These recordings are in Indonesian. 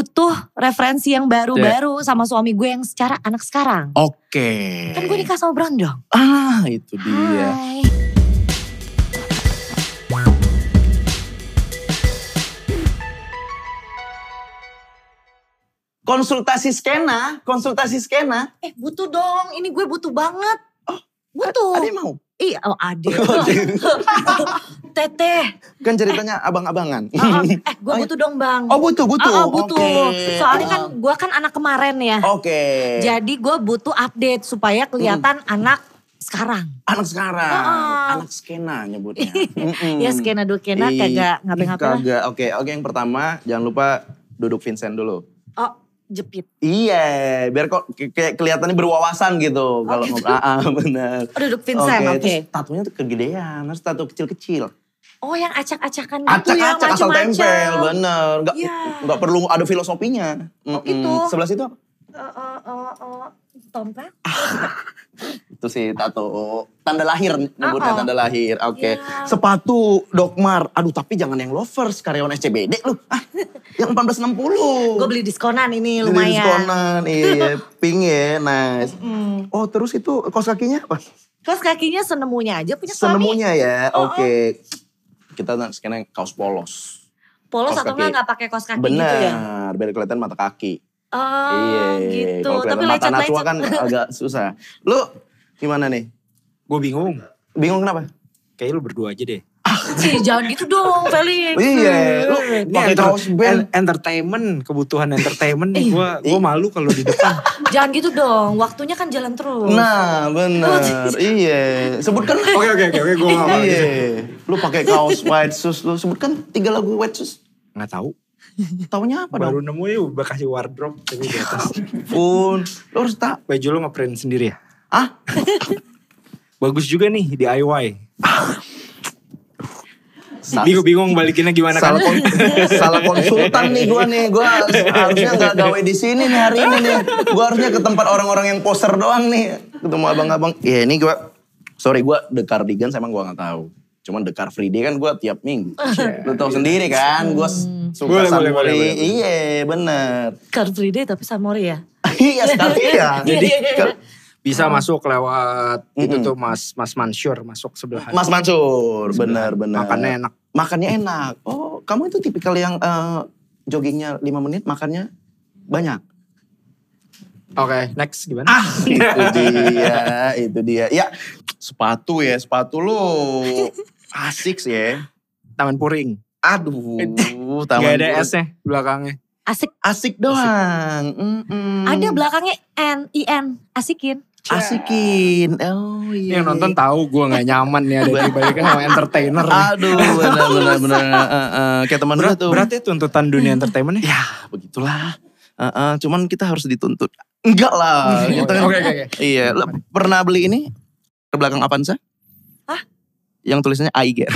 butuh referensi yang Iya. baru-baru sama suami gue yang secara anak sekarang. Oke. Kan gue nikah sama Brondong. Ah, itu Iya. dia. Hai. Konsultasi skena, konsultasi skena. Eh butuh dong, ini gue butuh banget. Oh, Butuh. Ada yang mau? Iya, oh ade. Teteh. Kan ceritanya abang-abangan. Ah, ah. Eh gue butuh dong bang. Oh butuh, butuh. Ah, ah, butuh. Oke. Oh. Soalnya kan gue kan anak kemarin ya. Oke. Jadi gue butuh update supaya kelihatan Hmm. anak sekarang. anak sekarang, Ah. anak skena nyebutnya. Mm-mm. Ya skena dua skena Hmm. Ih, kagak ngapain-ngapain lah. Kagak. Oke, oke yang pertama jangan lupa duduk Vincent dulu. Oh jepit. Iya, biar kok ke- kayak kelihatannya berwawasan gitu kalau gitu. ngobrol. Ah, ah, bener. Oh duduk Vincent, oke. terus tatunya tuh kegedean, harus tatu kecil-kecil. Oh yang acak-acakan gitu ya, Acak-acak asal macam-macam. tempel, bener. Gak, Iya. gak perlu ada filosofinya. Mm-mm. gitu. Sebelah situ apa? Eh, eh, eh, eh, Tongkat? Itu sih tato tanda lahir nyebutnya Oh, oh. tanda lahir. Oke. Iya. Sepatu Dokmar. Aduh, tapi jangan yang lovers karyawan SCBD lu. Ah, yang 1460. Gue beli diskonan ini Jadi lumayan. diskonan, iya, pink ya, nice. Oh terus itu kos kakinya apa? Terus Hmm. kakinya senemunya aja punya suami. Senemunya ya, Oh, oh. oke. Kita sekarang kaos polos. Polos Kaos atau kaki. enggak nggak pakai kaos kaki Benar, gitu ya? biar kelihatan mata kaki. Oh gitu. Iya, kalau Tapi kelihatan mata Najwa lecet-lecet. kan agak susah. Lu gimana nih? Gue bingung. Bingung kenapa? Kayaknya lu berdua aja deh. Cih, jangan gitu dong Felix. Iya, lu Ini pakai enter- kaos band. en- entertainment, kebutuhan entertainment nih. Gue gua malu kalau di depan. Jangan gitu dong, waktunya kan jalan terus. Nah, benar. iya. Sebutkan lah. Oke oke oke, oke gue gak malu. Iya. Lu pakai kaos white shoes, lu sebutkan tiga lagu white shoes. Gak tau. Taunya apa dong? Baru nemu ya udah kasih wardrobe. Tapi di atas. Pun, lu harus tak. Baju lu ngeprint sendiri ya? Ah, Bagus juga nih DIY. Sa- Bingung-bingung balikinnya gimana Nah. salah, kan? kon- salah konsultan nih gue nih gue harusnya nggak gawe di sini nih hari ini nih gue harusnya ke tempat orang-orang yang poser doang nih ketemu abang-abang ya ini gue sorry gue the cardigan emang gue nggak tahu cuman the car free day kan gue tiap minggu lu tahu sendiri kan gue suka Boleh, boleh, boleh, samuri boleh. iya bener Car Free Day tapi Samori ya. iya sekali ya Jadi Iya, iya, iya. ke- bisa masuk lewat itu tuh Mas Mas Mansur masuk sebelah. Mas Mansur bener bener Makannya enak. makannya enak oh kamu itu tipikal yang eh, joggingnya 5 menit makannya banyak Oke, next gimana? Ah, itu dia, itu dia. Ya, sepatu ya, sepatu lu asik sih ya. Taman Puring. Aduh, taman Gak ada gua- S-nya belakangnya. Asik. Asik doang. Mm-mm. Ada belakangnya N I N, asikin. Asikin. Oh iya. Yang nonton tahu gue nggak nyaman nih ada di baliknya sama entertainer. nih. Aduh, benar benar benar. Eh, eh, kayak teman gue Berat, Ah, tuh. berat ya tuntutan dunia entertainment ya. Ah, begitulah. Eh, eh, cuman kita harus dituntut. Enggak lah. Oke, Kita- oke, oke. Iya, lo pernah beli ini? Ke belakang Avanza? Hah? Yang tulisannya Aiger.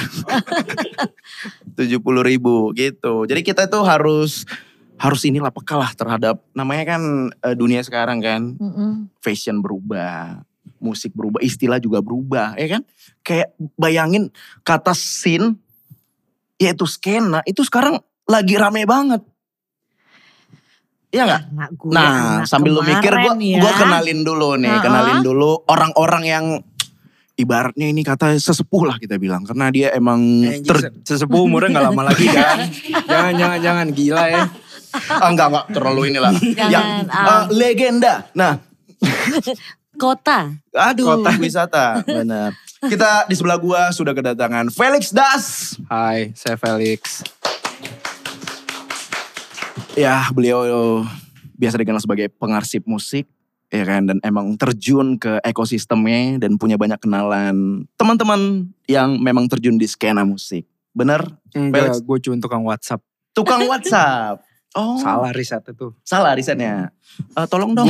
Tujuh puluh ribu gitu. Jadi kita tuh harus harus inilah peka lah terhadap namanya kan eh, dunia sekarang kan Mm-mm. fashion berubah, musik berubah, istilah juga berubah, ya kan? Kayak bayangin kata scene yaitu skena itu sekarang lagi rame banget. Iya nggak? Anak gue. Nah, anak sambil lu mikir gua kemarin ya. gua kenalin dulu nih, Heeh. kenalin dulu orang-orang yang ibaratnya ini kata sesepuh lah kita bilang karena dia emang Anjing, ter, se- Sesepuh umurnya nggak lama lagi kan. jangan, jangan, jangan. Gila ya. ah, enggak enggak terlalu inilah Jangan, yang ah. eh, legenda. Nah, kota. aduh Kota. wisata. Benar. Kita di sebelah gua sudah kedatangan Felix Das. Hai, saya Felix. Ya, beliau biasa dikenal sebagai pengarsip musik ya kan dan emang terjun ke ekosistemnya dan punya banyak kenalan teman-teman yang memang terjun di skena musik. Bener? Enggak, gue cuma tukang WhatsApp. Tukang WhatsApp. Oh, Salah riset itu. Salah risetnya. Eh, tolong dong.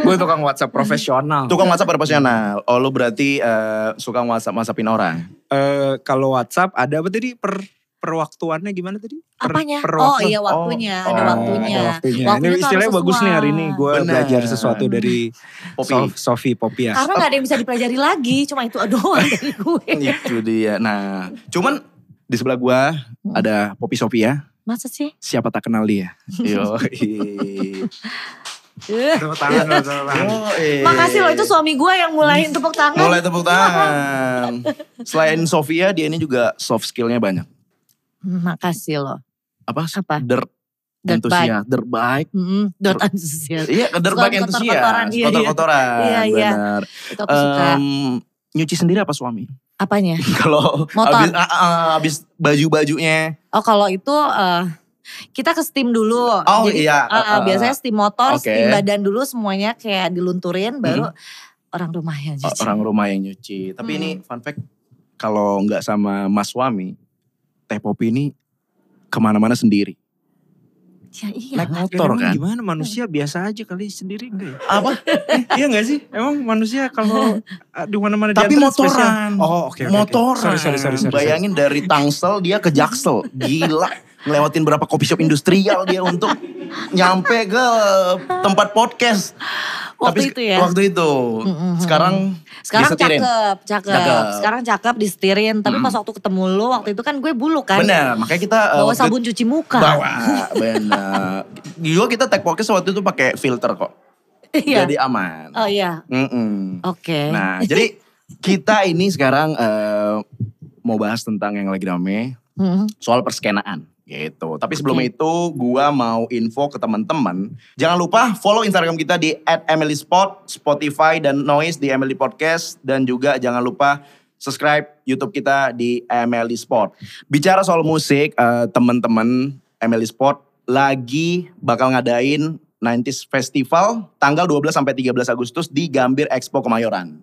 Gue tukang WhatsApp profesional. Tukang WhatsApp pada profesional. Oh, lu berarti eh, suka WhatsApp WhatsAppin orang. Eh, kalau WhatsApp ada apa tadi per perwaktuannya gimana tadi? Per, Apanya? per oh waktu- iya waktunya, Oh, ada Ah, waktunya. ada waktunya. ini tuh istilahnya harus bagus nih sesuai. hari ini. Gue Bener. belajar sesuatu dari Popi. Sof- Sofi ya. Popias. Karena gak ada yang bisa dipelajari lagi, cuma itu doang Hmm, dari gue. gitu Hmm. Itu dia. Nah, cuman di sebelah gua ada Poppy Sophia Masa sih? Siapa tak kenal dia? Yo. Eh, Tepuk tangan, tepuk tangan. Makasih loh itu suami gue yang mulai tepuk tangan. Mulai tepuk tangan. Selain Sofia, dia ini juga soft skillnya banyak. Hmm, Makasih loh. Apa? Apa? Dirt, Dirt bike. entusias. Dirt bike. Mm-mm, Hmm, Dot antusias. Iya, dirt bike Kotor- entusias. kotor-kotoran, iya, iya. Kotor-kotoran. Iya, iya. Benar. Itu aku suka. Em, nyuci sendiri apa suami? Apanya? Kalau Motor. habis ah, ah, habis baju-bajunya. Oh kalau itu eh, kita ke steam dulu. Oh, eh, iya. eh, Ah, ah. biasanya steam motor, Oke. steam badan dulu semuanya kayak dilunturin baru orang rumah ya, yang Oh, cuci. orang rumah yang nyuci. Tapi Hmm. ini fun fact, kalau nggak sama mas suami, Teh Popi ini kemana-mana sendiri. Ya iya. lah. Naik Ya, motor emang kan? Gimana manusia biasa aja kali sendiri enggak ya? Apa? Eh, iya gak sih? Emang manusia kalau uh, di mana-mana Tapi diantar motoran. spesial. Oh oke oke, oke. Motoran. Sorry sorry sorry. sorry. Bayangin dari Tangsel dia ke Jaksel. Gila. Ngelewatin berapa kopi shop industrial dia untuk nyampe ke tempat podcast. Waktu sek- itu ya? Waktu itu. Mm-mm. Sekarang Sekarang disetirin. cakep, cakep, Cakep. Sekarang cakep disetirin. Tapi pas waktu ketemu lu waktu itu kan gue buluk kan. Benar, makanya kita eh, Bawa waktu itu- sabun cuci muka. Bawa, benar. Juga kita tag podcast waktu itu pakai filter kok. Iya. Jadi aman. Oh iya. Mm-mm. Oke. Nah, jadi kita ini sekarang eh, mau bahas tentang yang lagi rame Mm-mm. soal perskenaan gitu. Tapi sebelum itu gua mau info ke teman-teman, jangan lupa follow Instagram kita di @emilyspot, Spotify dan Noise di Emily Podcast dan juga jangan lupa subscribe YouTube kita di Emily Spot. Bicara soal musik, eh, teman-teman Emily Spot lagi bakal ngadain 90s Festival tanggal 12 sampai 13 Agustus di Gambir Expo Kemayoran.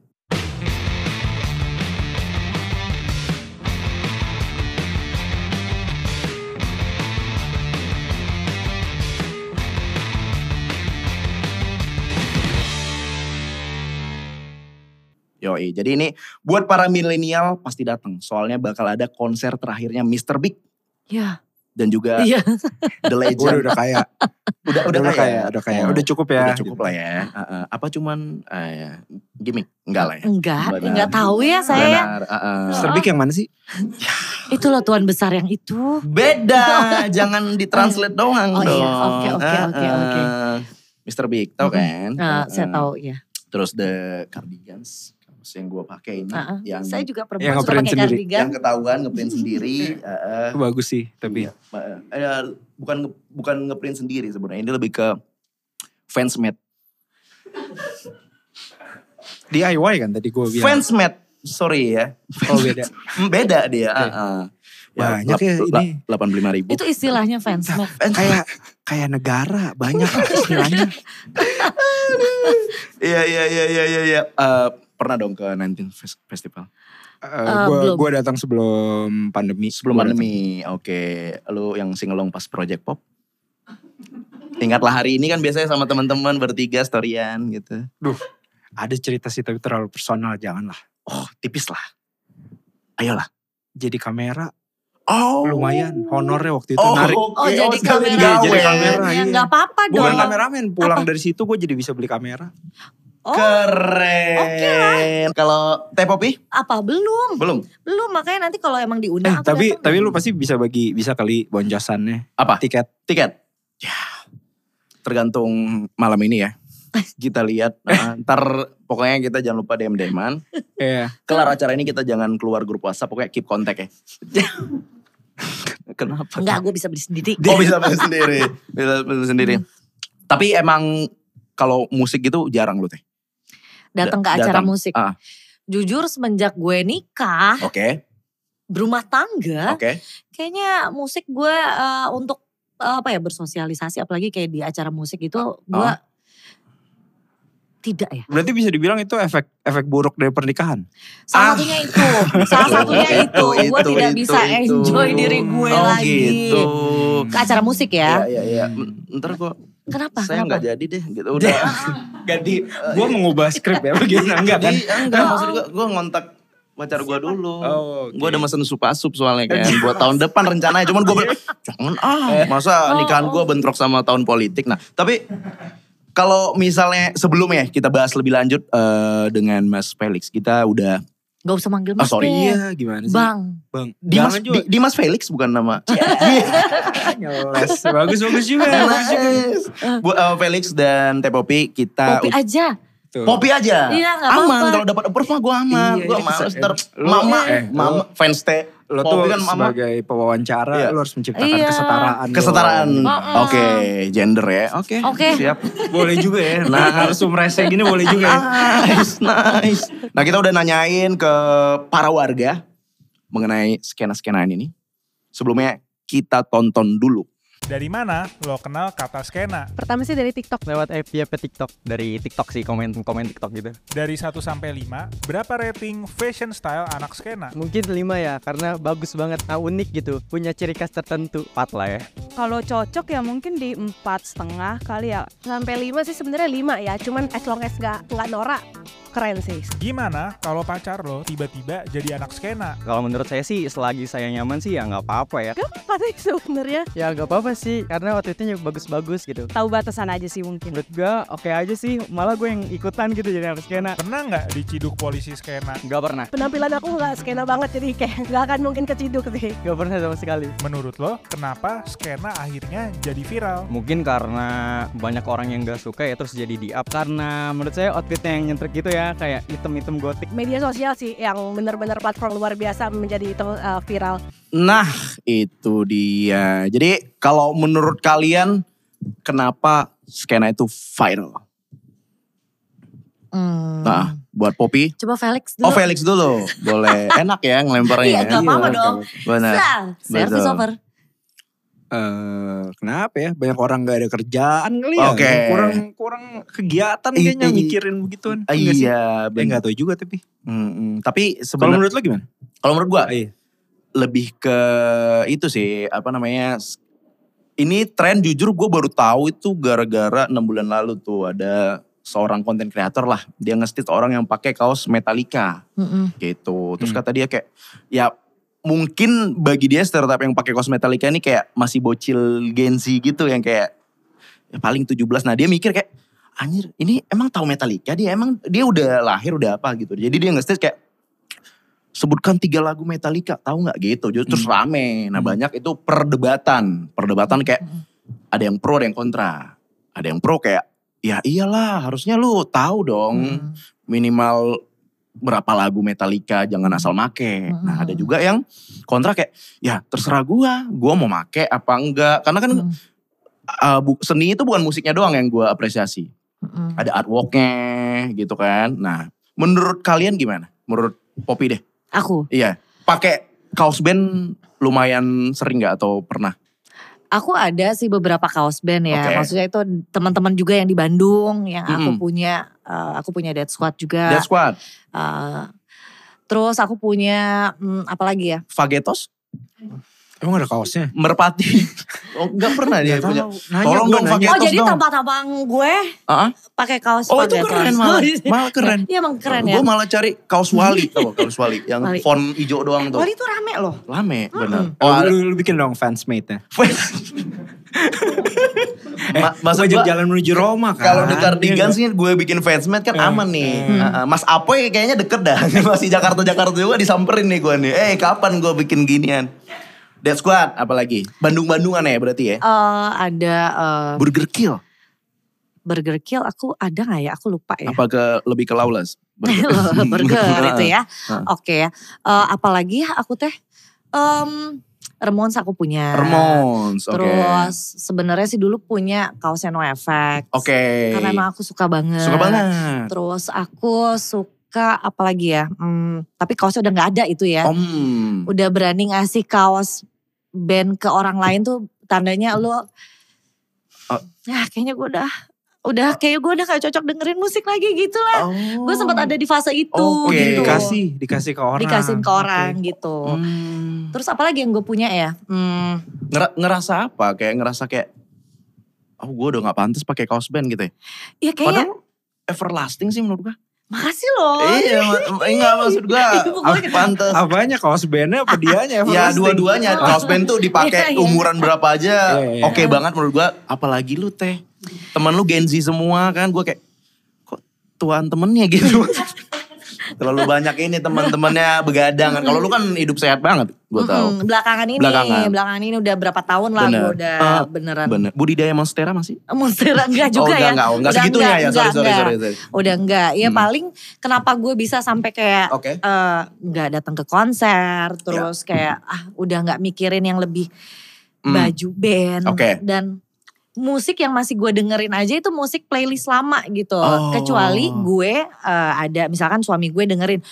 Yoi, jadi ini buat para milenial pasti datang. Soalnya bakal ada konser terakhirnya Mr. Big Ya. dan juga Iya. The Udah Legend. udah kaya. udah, udah, udah kaya. Udah kaya. Oh, Udah cukup ya. udah cukup lah ya. Heeh. Apa cuman eh, ya, gimmick? Enggak lah ya. Enggak, Benar. enggak tahu ya saya. Benar. heeh. Mr. Big yang mana sih? Itu loh tuan besar yang itu. Beda, jangan ditranslate doang Oh iya, dong. oke, oke, oke, oke. Heeh. Mr. Big, tau kan? Nah, saya Heeh. tahu ya. Terus the cardigans kaos yang gue pakai ini Heeh. yang Saya juga Yang perempuan suka ngeprint pakai sendiri. cardigan. yang ketahuan ngeprint sendiri. heeh. Bagus sih tapi. Iya, ma- eh, bukan nge- bukan ngeprint sendiri sebenarnya ini lebih ke fansmade. DIY kan tadi gue bilang. Fansmade, sorry ya. Oh beda. Hmm, Beda dia. ah, ah. Banyak ya ini. Delapan puluh lima ribu. Itu istilahnya fans. Mac. kayak kayak negara banyak istilahnya. Iya iya iya iya iya. iya. Eh, pernah dong ke 19 Fes- Festival. Eh, belum. gue gue datang sebelum pandemi. Sebelum Gua pandemi, oke. Lu yang singelong pas Project Pop. Ingatlah hari ini kan biasanya sama teman-teman bertiga storyan gitu. datang. Ada cerita sih tapi terlalu personal janganlah. Oh tipis lah. Ayolah. Jadi kamera Oh. lumayan honornya waktu itu oh, oh. narik. Oh, oke. jadi sekalian kamera. gawe. Jadi kamera. Ya iya. nggak apa-apa dong. Bukan kameramen, pulang dari situ gue jadi bisa beli kamera. Oh, Keren. Oke Kalau teh popi apa belum? belum. Belum makanya nanti kalau emang Eh, diundang aku tapi datang. tapi lu pasti bisa bagi bisa kali bonjosannya Apa? tiket. Tiket. Ya. Tergantung malam ini ya. Kita lihat. Nah, ntar pokoknya kita jangan lupa DM deman Iya. Kelar acara ini kita jangan keluar grup WhatsApp. Pokoknya keep kontak ya. Kenapa? Enggak, gue bisa beli sendiri. Oh bisa beli sendiri. Bisa beli sendiri. Tapi emang kalau musik gitu jarang lu teh. Datang ke da- acara datang. musik. Ah. Jujur semenjak gue nikah, Oke. berumah tangga, Oke. kayaknya musik gue eh, untuk eh, apa ya bersosialisasi apalagi kayak di acara musik itu Oh. gue tidak ya. Berarti bisa dibilang itu efek efek buruk dari pernikahan. Salah Ah. satunya itu, salah satunya itu, gue Itu, tidak itu, bisa itu. enjoy diri gue Oh lagi. gitu. Ke acara musik Ya, ya. ya, ya. Ntar gua Kenapa? saya Kenapa? nggak jadi deh gitu udah. Ganti, eh, gue mengubah skrip ya begini enggak kan? Jadi enggak maksud gue gue ngontak pacar gue dulu. Oh, oke. Gue udah mesen sup asup soalnya kan buat tahun depan rencananya. Cuman gue bilang Iya. jangan Eh. ah Oh. masa nikahan gue bentrok sama tahun politik. Nah tapi ya, kalau misalnya sebelumnya kita bahas lebih lanjut eh, dengan Mas Felix kita udah Gak usah manggil Ah, mas sorry, deh. Iya gimana sih? Bang. Bang. Dimas, Jangan juga. Di- Dimas Felix bukan nama. Nyeles. Bagus bagus juga. bagus juga. Nice. Bu, eh, Felix dan Teh Popi kita Kopi aja. Tuh. Popi aja. Iya, nggak aman apa-apa. kalau dapat approve mah gue aman. Iya, gue iya, males kesel. ter Lu- mama, eh, mama fans teh. Lo Popi tuh kan mama. sebagai pewawancara Iya. lo harus menciptakan Iya. kesetaraan. dong. Kesetaraan. Oh, Oke, gender ya. Oke. Oke. Siap. Boleh juga ya. Nah. Ah. Nah, harus sumresnya gini boleh juga ya. Eh, Ah. Nice, nice. Nah kita udah nanyain ke para warga mengenai skena-skenaan ini. Sebelumnya kita tonton dulu. Dari mana lo kenal kata skena? Pertama sih dari TikTok. lewat FB apa TikTok dari TikTok sih komen komen TikTok gitu Dari 1 sampai 5, berapa rating fashion style anak skena? mungkin lima ya karena bagus banget nah, unik gitu punya ciri khas tertentu empat lah ya Kalau cocok ya mungkin di empat setengah kali ya. sampai lima sih sebenarnya lima ya cuman as long as nggak nggak norak keren sih Gimana kalau pacar lo tiba-tiba jadi anak skena? kalau menurut saya sih selagi saya nyaman sih ya nggak apa-apa ya apa sih sebenarnya ya nggak apa-apa sih karena outfitnya bagus-bagus gitu Tahu batasan aja sih mungkin. menurut gua oke aja sih malah gue yang ikutan gitu jadi harus kena Pernah nggak diciduk polisi skena? nggak pernah penampilan aku nggak skena banget jadi kayak nggak akan mungkin keciduk sih nggak pernah sama sekali Menurut lo, kenapa skena akhirnya jadi viral? mungkin karena banyak orang yang nggak suka ya terus jadi di up karena menurut saya outfitnya yang nyentrik gitu ya kayak item-item gotik media sosial sih yang benar-benar platform luar biasa menjadi itu uh, viral Nah itu dia. Jadi kalau menurut kalian kenapa skena itu viral? Hmm. Nah buat Poppy. Coba Felix dulu. Oh Felix dulu. Boleh. Enak ya ngelemparnya. Iya, nggak apa-apa Iya, dong. Benar. Sah, Service Betul. over. Eh, kenapa ya? Banyak orang gak ada kerjaan kali ya. Oke. Kurang kurang kegiatan I- kayaknya i- mikirin begituan. Enggak sih? Iya, Eh benar. gak tau juga tapi. Mm-mm. Tapi Kalau sebenarnya menurut lo gimana? kalau menurut gua Iya. lebih ke itu sih apa namanya s- ini tren jujur gue baru tahu itu gara-gara enam bulan lalu tuh ada seorang konten kreator lah dia ngestit orang yang pakai kaos Metallica Mm-mm. gitu terus Hmm. kata dia kayak ya mungkin bagi dia stereotip yang pakai kaos Metallica ini kayak masih bocil Gen Z gitu yang kayak ya paling 17 nah dia mikir kayak anjir ini emang tahu Metallica dia emang dia udah lahir udah apa gitu jadi dia nge-state kayak sebutkan tiga lagu Metallica tahu nggak gitu Jadi terus rame nah Hmm. banyak itu perdebatan perdebatan kayak Mm-mm. ada yang pro ada yang kontra ada yang pro kayak ya iyalah harusnya lu tahu dong Hmm. Mm-mm. minimal berapa lagu Metallica jangan asal make. Mm-mm. Nah ada juga yang kontra kayak ya terserah gua, gua mau make apa enggak. Karena kan Mm-mm. uh, bu- seni itu bukan musiknya doang yang gua apresiasi. Mm-mm. Ada artworknya gitu kan. Nah menurut kalian gimana? Menurut Poppy deh. Aku. Iya pakai kaos band lumayan sering nggak atau pernah? Aku ada sih beberapa kaos band ya. Oke. Maksudnya itu teman-teman juga yang di Bandung yang aku Mm-mm. punya eh, aku punya Dead Squad juga. Death Squad, Eh, terus aku punya hmm, apa lagi ya? Fagetos, Emang ada kaosnya? Merpati. Oh nggak pernah dia Nggak punya. tahu. Nanya Tolong gua, dong, nanya. oh Fagetos jadi dong. tampang-tampang gue Ah, ah. pakai kaos Oh itu Fagetos. keren malah, malah keren. Iya emang keren ya. Gue malah cari kaos wali, tau gak kaos wali yang Wali. font hijau doang tuh. Wali Oh, Hmm. itu rame loh. Lame, bener. Oh, Oh, ada- lu, lu bikin dong fansmate-nya. Ma- maksud Wajah gua, Eh, jalan menuju Roma kan. kalau di Iya cardigan nggak? sih gue bikin fansmate kan Hmm. aman nih. Hmm. Heeh, Mas Apoy kayaknya deket dah. Masih Jakarta-Jakarta juga disamperin nih gue nih. Eh kapan gue bikin ginian? Dead Squad apalagi? Bandung-Bandungan ya berarti ya? Eh, ada eh, Burger Kill. Burger Kill aku ada gak ya? Aku lupa ya. Iya. Apa ke lebih ke lawless? Burger. burger itu ya. Heeh. Oke ya. Eh, apalagi ya aku teh Em Remons aku punya. Remons, oke. Terus sebenarnya sih dulu punya kaosnya No Effects. Oke. Karena emang aku suka banget. Suka banget. Terus aku suka apalagi ya? Hmm, tapi kaosnya udah nggak ada itu ya. Om. Udah berani ngasih kaos band ke orang lain tuh tandanya lu Oh. ya kayaknya gue udah udah kayaknya gue udah gak cocok dengerin musik lagi gitu lah. Oh. Gue sempat ada di fase itu Oke. Jadi gitu. dikasih, kan? dikasih ke orang. Dikasihin ke orang gitu. Hmm. Terus apalagi yang gue punya ya? Hmm, Ngera- ngerasa apa? Kayak ngerasa kayak oh gue udah gak pantas pakai kaos band gitu ya. ya kayaknya Padahal everlasting sih menurut gue. makasih loh. iya, ma- enggak maksud gue Ibu Oh. gua gitu. pantas. Oke. Ah, Apanya kaos Ah, bandnya apa Ya dianya? everlasting? dua-duanya kaos band tuh Iya, dipakai iya. umuran berapa aja. Iya, iya. Oke banget menurut gue. Apalagi lu teh. Temen lu Gen Z semua kan. Gue kayak kok tuan temennya gitu. Terlalu banyak ini teman-temannya begadang. Kalau lu kan hidup sehat banget, gue tahu. Mm-mm, Belakangan ini, Belakangan. belakangan. ini udah berapa tahun lah Bener. gue udah Ah, beneran. Bener. Budidaya monstera masih? Monster enggak juga oh, enggak, ya. Enggak, oh, enggak Udah segitunya enggak, ya. Sorry, enggak, sorry, enggak. sorry, sorry. Udah enggak. Ya Hmm. paling kenapa gue bisa sampai kayak Oke. eh, nggak datang ke konser Ya. terus kayak ah udah nggak mikirin yang lebih Hmm. baju band Oke. dan musik yang masih gue dengerin aja itu musik playlist lama gitu Oh. kecuali gue eh, ada misalkan suami gue dengerin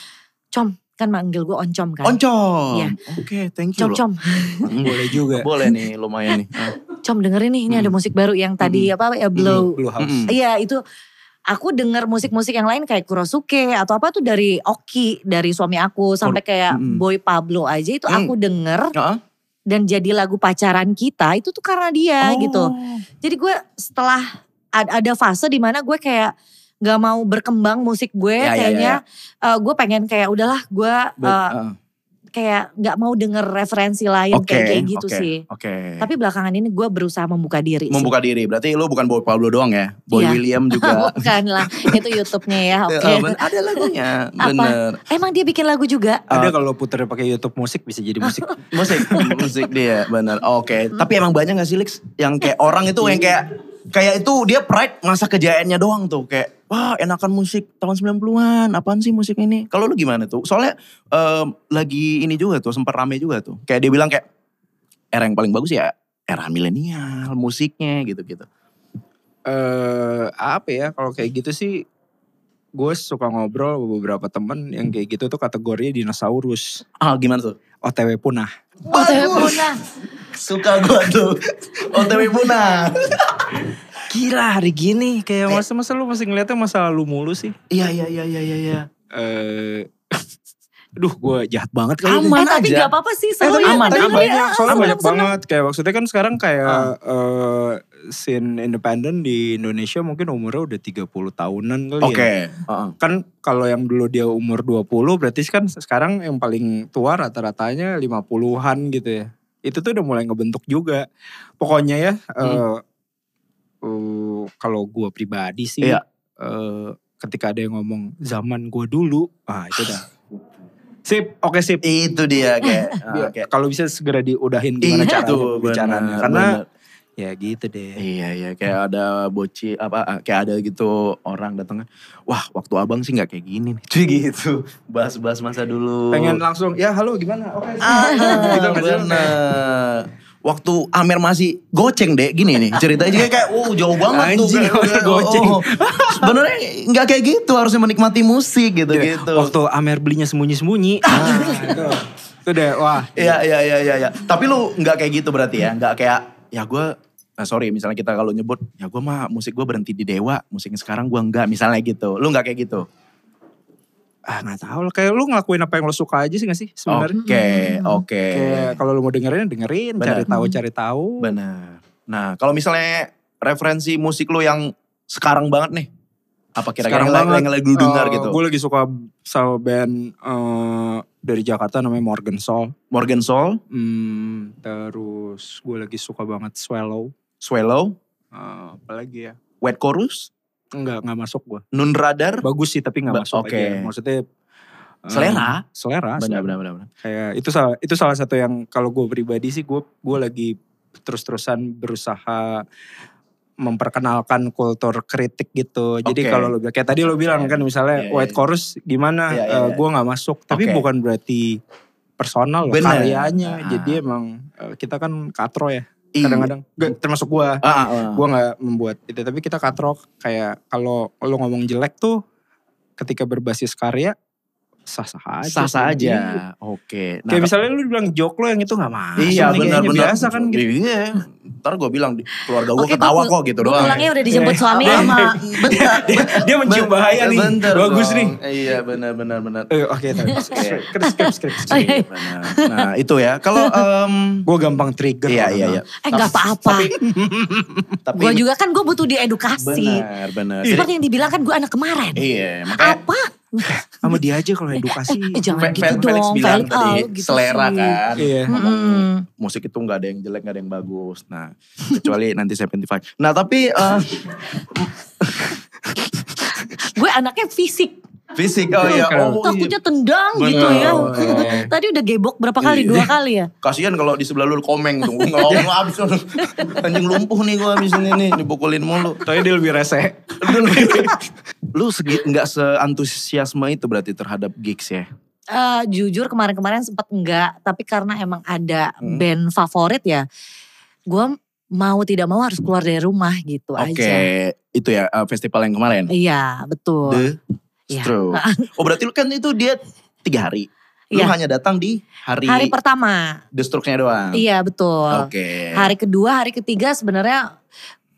com kan manggil gue oncom kan Oncom. Iya. Oke, thank you com loh. com Hmm, Boleh juga. Boleh nih, lumayan nih. Ah. com dengerin nih ini Hmm. ada musik baru yang tadi apa ya blow Blue House. Mm-mm. Iya itu aku denger musik-musik yang lain kayak Kurosuke atau apa tuh dari Oki dari suami aku sampai kayak Mm-mm. Boy Pablo aja itu Mm. aku denger Ah. dan jadi lagu pacaran kita itu tuh karena dia Oh. gitu. Jadi gue setelah ad- ada fase dimana gue kayak nggak mau berkembang musik gue Ya, ya, kayaknya eh, gue pengen kayak udahlah gue But, eh, ah. kayak nggak mau denger referensi lain Oke, kayak kayak gitu oke, sih. Oke. Tapi belakangan ini gue berusaha membuka diri. sih. Membuka diri. Berarti lu bukan Boy Pablo doang ya. Boy Iya. William juga. Bukan lah itu YouTube-nya ya. Oke. Eh, ben- ada lagunya. Apa? Bener. Emang dia bikin lagu juga? Ada kalau puter pakai YouTube musik bisa jadi musik. Musik, musik dia, benar. Oke, tapi emang banyak gak sih Lex yang kayak orang itu yang kayak kayak itu dia pride masa kejayaannya doang tuh kayak wah enakan musik tahun 90-an, apaan sih musik ini? Kalau lu gimana tuh? Soalnya em, lagi ini juga tuh sempat rame juga tuh. Kayak dia bilang kayak era yang paling bagus ya era milenial musiknya gitu-gitu. eh apa ya kalau kayak gitu sih gue suka ngobrol sama beberapa temen yang kayak gitu tuh kategorinya dinosaurus Ah, gimana tuh? OTW punah OTW punah. Suka gua tuh. OTW punah. gila hari gini kayak masa-masa lu masih ngeliatnya masa lalu mulu sih Iya, iya, iya, iya, iya, iya. eh Duh gue jahat banget kali ini. Aman eh, tapi aja. gak apa-apa sih seru tapi ya. aman, Tapi Seru ya, aman. banyak, soalnya seneng, banyak seneng. Ah. banget. Kayak maksudnya kan sekarang kayak eh, scene independen di Indonesia mungkin umurnya udah 30 tahunan kali ya. Oke. Heeh. kan kalau yang dulu dia umur 20 berarti kan sekarang yang paling tua rata-ratanya 50-an gitu ya. Itu tuh udah mulai ngebentuk juga. Pokoknya ya Hmm. eh, eh, kalau gua pribadi sih Iya. eh, ketika ada yang ngomong zaman gua dulu, ah itu dah. sip, oke sip. Itu dia kayak. ah, kayak Iya, Kalau bisa segera diudahin gimana Itu, caranya benar, bicaranya karena benar. ya gitu deh. Iya iya kayak ada boci apa ah, kayak ada gitu orang datang wah waktu abang sih nggak kayak gini nih cuy gitu bahas-bahas masa dulu Pengen langsung ya halo gimana? Oke. sip. ah, Gitu nggak sih? bener waktu Amer masih goceng deh gini nih ceritanya juga Iya, kayak wow jauh banget tuh Anjing, kayak, Amer goceng. oh, oh. sebenarnya nggak kayak gitu harusnya menikmati musik gitu gitu Iya. Waktu Amer belinya sembunyi-sembunyi. Ah, itu. Itu deh, wah. Iya iya iya iya. Ya. Tapi lu nggak kayak gitu berarti ya? Nggak kayak ya gue Nah sorry misalnya kita kalau nyebut ya gue mah musik gue berhenti di dewa musik sekarang gue enggak misalnya gitu lu nggak kayak gitu Ah gak tau lah, kayak lu ngelakuin apa yang lu suka aja sih gak sih oke sebenarnya? Hmm, oke Kayak kalau lu mau dengerin, dengerin, Benar. cari tahu cari tahu. benar nah kalau misalnya referensi musik lu yang sekarang banget nih apa kira-kira yang, yang, yang lagi lu dengar gitu Gue Oh, lagi suka sama band eh, dari Jakarta namanya Morgan Soul. Morgan Soul Hmm, terus gue lagi suka banget Swallow. Swallow Eh, apalagi ya? Wet Chorus Enggak, enggak masuk gue. Nun Radar Bagus sih tapi enggak Ba- masuk oke. aja. Maksudnya eh, selera selera. benar selera. benar benar benar. Kayak itu salah itu salah satu yang kalau gue pribadi sih gue gue lagi terus-terusan berusaha memperkenalkan kultur kritik gitu. Oke. Jadi kalau lo bilang- kayak tadi lo bilang kan Iya, misalnya iya. White Chorus gimana Iya, iya, iya. gue nggak masuk, tapi Oke. bukan berarti personal loh Bener. karyanya. Ah. Jadi emang eh, kita kan katro ya Iya. kadang-kadang. Nggak, termasuk gue, Ah, ah, ah. gue nggak membuat itu. Tapi kita katro kayak kalau lo ngomong jelek tuh ketika berbasis karya sah-sah aja. sah-sah aja Iya. oke Nah, Kayak misalnya lu bilang jok lo yang itu gak masuk Iya nih benar kayaknya. benar. Ah, Biasa kan gitu. Iya. Ntar gue bilang di- keluarga gue Oke, gua ketawa pul- kok gitu gua doang. Pulangnya udah dijemput suami Iya. sama Bentar, Dia mencium bahaya nih. Bentar Bagus dong. nih. Iya benar benar benar. Eh, Oke, okay, skip, skip, skip, Eh, skip. Iya, benar. Nah itu ya. Kalau em, Gue gampang trigger. iya orang. iya iya. eh nggak apa-apa. kan Tapi Gue juga kan gue butuh diedukasi. benar benar. Jadi- Seperti yang dibilang kan gue anak kemarin. Iya. Makanya Apa? Sama dia aja kalau Iya. edukasi. Eh, jangan Fe- gitu Fe- Felix dong. bilang Felix, tadi ah, lu gitu selera sih. kan. Iya. Mm-mm. musik itu nggak ada yang jelek nggak ada yang bagus nah kecuali nanti 75 nah tapi eh, Gue anaknya fisik. Fisik, oh iya. kan? Oh, iya. Takutnya tendang gitu ya. Tadi udah gebok berapa kali? Iya. Dua kali ya? Kasian kalau di sebelah lu komeng tuh. Gue ngelawan lu abis. lu. Anjing lumpuh nih gue abis ini nih. Dipukulin mulu. Tapi dia lebih rese. lu segi, gak seantusiasme itu berarti terhadap gigs ya? Eh, jujur kemarin-kemarin sempat enggak. Tapi karena emang ada Hmm. band favorit ya. Gue mau tidak mau harus keluar dari rumah gitu Oke. aja. Itu ya eh, festival yang kemarin? Iya betul. The Iya. Stroke. Oh berarti lu kan itu dia tiga hari. Lu Iya. hanya datang di hari, Hari pertama. The Strokes-nya doang. Iya betul. Hmm. Oke. Hari kedua, hari ketiga sebenarnya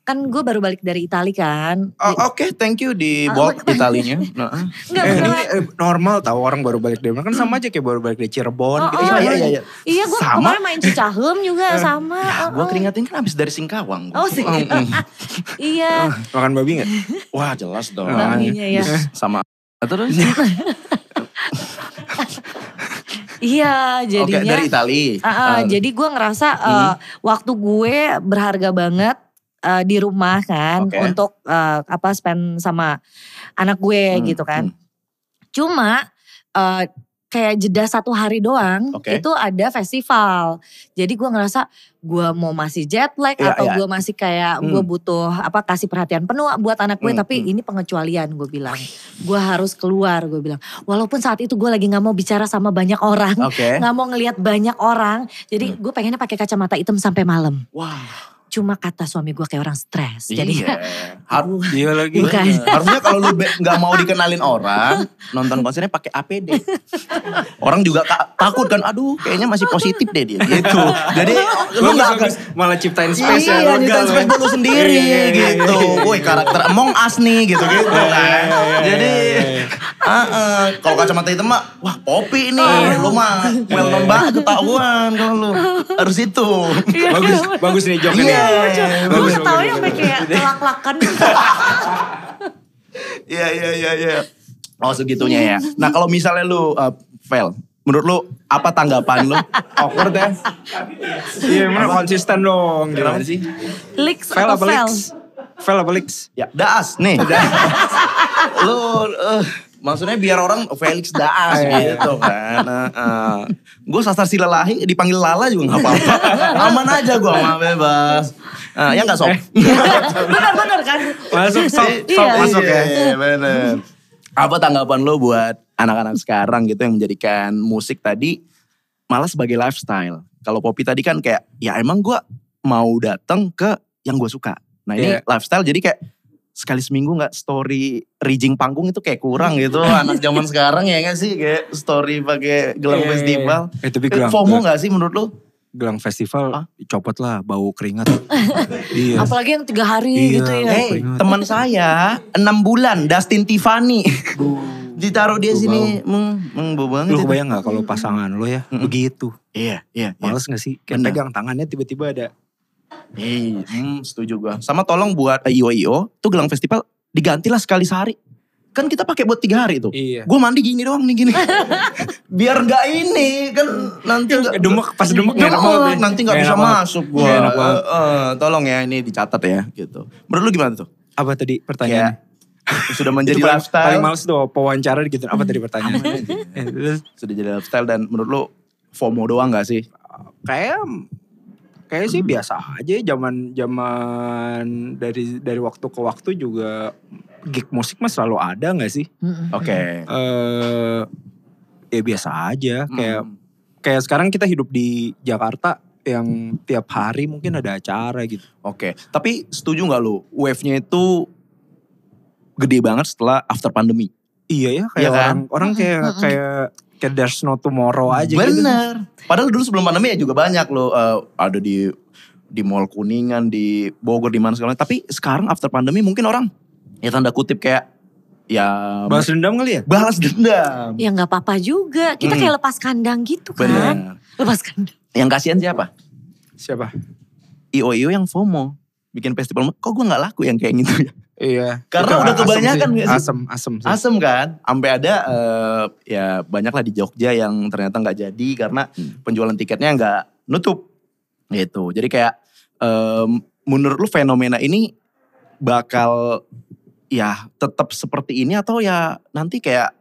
kan gue baru balik dari Itali kan. Oh, Oke, thank you di Ah, Bolt Italinya. Nah, Enggak, Eh, ini beneran. eh, normal tau orang baru balik dari mana kan Hmm. sama aja kayak baru balik dari Oh, Cirebon oh, gitu. Sama iya. aja. Iya gue sama. kemarin main Cicahem juga sama. ah, Oh, gua oh. keringatin kan abis dari Singkawang. gua. Oh sih. Mm-mm. Iya. Makan babi gak? Wah jelas dong. Ah, Babinya ya. Terus Sama. Ah, Terus? Iya Oke, jadinya. dari Itali. Ah, ah, Ah, jadi gue ngerasa eh, Hmm. waktu gue berharga banget eh, di rumah kan Oke. untuk eh, apa spend sama anak gue Hmm, gitu kan. Cuma eh, kayak jeda satu hari doang Oke. itu ada festival. Jadi gue ngerasa gue mau masih jet lag Iya, atau iya. gue masih kayak gue butuh apa kasih perhatian penuh buat anak gue. Hmm, Tapi hmm. ini pengecualian gue bilang. Gue harus keluar gue bilang. Walaupun saat itu gue lagi nggak mau bicara sama banyak orang Oke. Hmm. nggak mau ngelihat banyak orang. Jadi gue pengennya pakai kacamata hitam sampai malam. Wah. Cuma kata suami gue kayak orang stres. Jadi iya. Har- Iya lagi. Bukan. Harusnya kalau lu be- nggak mau dikenalin orang, nonton konsernya pakai APD. Orang juga ka- takut kan, aduh kayaknya masih positif deh dia gitu. Jadi lu nggak akan Bagus-bagus, malah ciptain space Iya, ya. legal nyiptain ya. space buat lu sendiri Iya, iya, iya, gitu. iya, iya. Woi, karakter Among Us nih gitu-gitu kan. Jadi iya, ah, eh, kalau kacamata hitam mah wah popi nih. Lu mah Iya, well known banget ketahuan kalau lu. Harus itu. Bagus, bagus nih joknya Iya. nih. gue Bagus, ya, ketawa bagus. yang kayak kelak-kelakan. Iya iya iya iya. Oh segitunya ya. Nah kalau misalnya lu uh, fail, menurut lu apa tanggapan lu? Awkward ya? Iya, emang konsisten dong. gitu. Gimana sih? Leaks Fail atau apa fail? leaks? Fail apa leaks? Ya Daas nih. lu eh, maksudnya biar orang Felix Daas gitu kan. gue sasar si lelahi dipanggil Lala juga nggak apa-apa. Aman aja gue mah bebas. Eh, ya nggak sob. Bener-bener kan? Masuk, sob, Iya. sob masuk ya. Iya, bener. Apa tanggapan lo buat anak-anak sekarang gitu yang menjadikan musik tadi malah sebagai lifestyle? Kalau Poppy tadi kan kayak ya emang gua mau datang ke yang gue suka. Nah ini Iya. lifestyle jadi kayak sekali seminggu nggak story rijing panggung itu kayak kurang gitu anak zaman sekarang ya nggak sih kayak story pakai gelang Iya, iya, festival. iya. Eh, tapi Eh, gelang- FOMO nggak sih menurut lo? Gelang Ah. festival, copot lah, bau keringat. Iya. Apalagi yang tiga hari Iya. gitu ya. Eh, Hey, teman saya 6 bulan Dustin Tiffany. Ditaruh dia Bau. sini, meng, meng bau banget. itu. Lu kebayang gak kalau pasangan lu ya Mm-mm. begitu? Iya, iya, iya. Males gak sih? Kayak Bener. pegang tangannya tiba-tiba ada. Iya, hmm, setuju gua. Sama tolong buat IO IO tuh gelang festival digantilah sekali sehari. Kan kita pakai buat tiga hari tuh. Iya. Gue mandi gini doang nih gini. Biar nggak ini kan nanti nggak Demek, Eh, pas demek Nggak gak enak banget. ya. Iya, nanti nggak Nggak bisa enak banget. masuk gua. Nggak enak banget. Eh, eh, tolong ya ini dicatat ya gitu. Menurut lu gimana tuh? Apa tadi pertanyaannya? Kayak sudah menjadi Itu paling- lifestyle. Paling males tuh wawancara gitu. Apa tadi pertanyaannya? Eh, terus sudah jadi lifestyle dan menurut lu FOMO doang gak sih? kayak kayak sih Hmm. biasa aja zaman zaman dari dari waktu ke waktu juga gig musik mah selalu ada nggak sih? Mm-mm. Oke. Eh ya biasa aja kayak Hmm. kayak sekarang kita hidup di Jakarta yang tiap hari mungkin ada acara gitu. Oke. Tapi setuju nggak lu wave-nya itu gede banget setelah after pandemi? Iya ya kayak Iya kan? orang orang kayak kayak kayak there's no tomorrow aja gitu. Bener. Padahal dulu sebelum pandemi ya juga banyak lo ada di di Mall Kuningan, di Bogor, di mana segala macam. Tapi sekarang after pandemi mungkin orang ya tanda kutip kayak ya Balas dendam kali ya? balas dendam. Ya nggak apa-apa juga. Kita Mm. kayak lepas kandang gitu kan. Bener. Lepas kandang. Yang kasihan siapa? Siapa? IOIO yang FOMO bikin festival kok gue nggak laku yang kayak gitu ya Iya. Karena Itu udah asem kebanyakan sih. nggak sih? Asem, asem sih. Asem kan, sampai ada eh, ya banyak lah di Jogja yang ternyata nggak jadi karena penjualan tiketnya nggak nutup gitu. Jadi kayak em, menurut lu fenomena ini bakal ya tetap seperti ini atau ya nanti kayak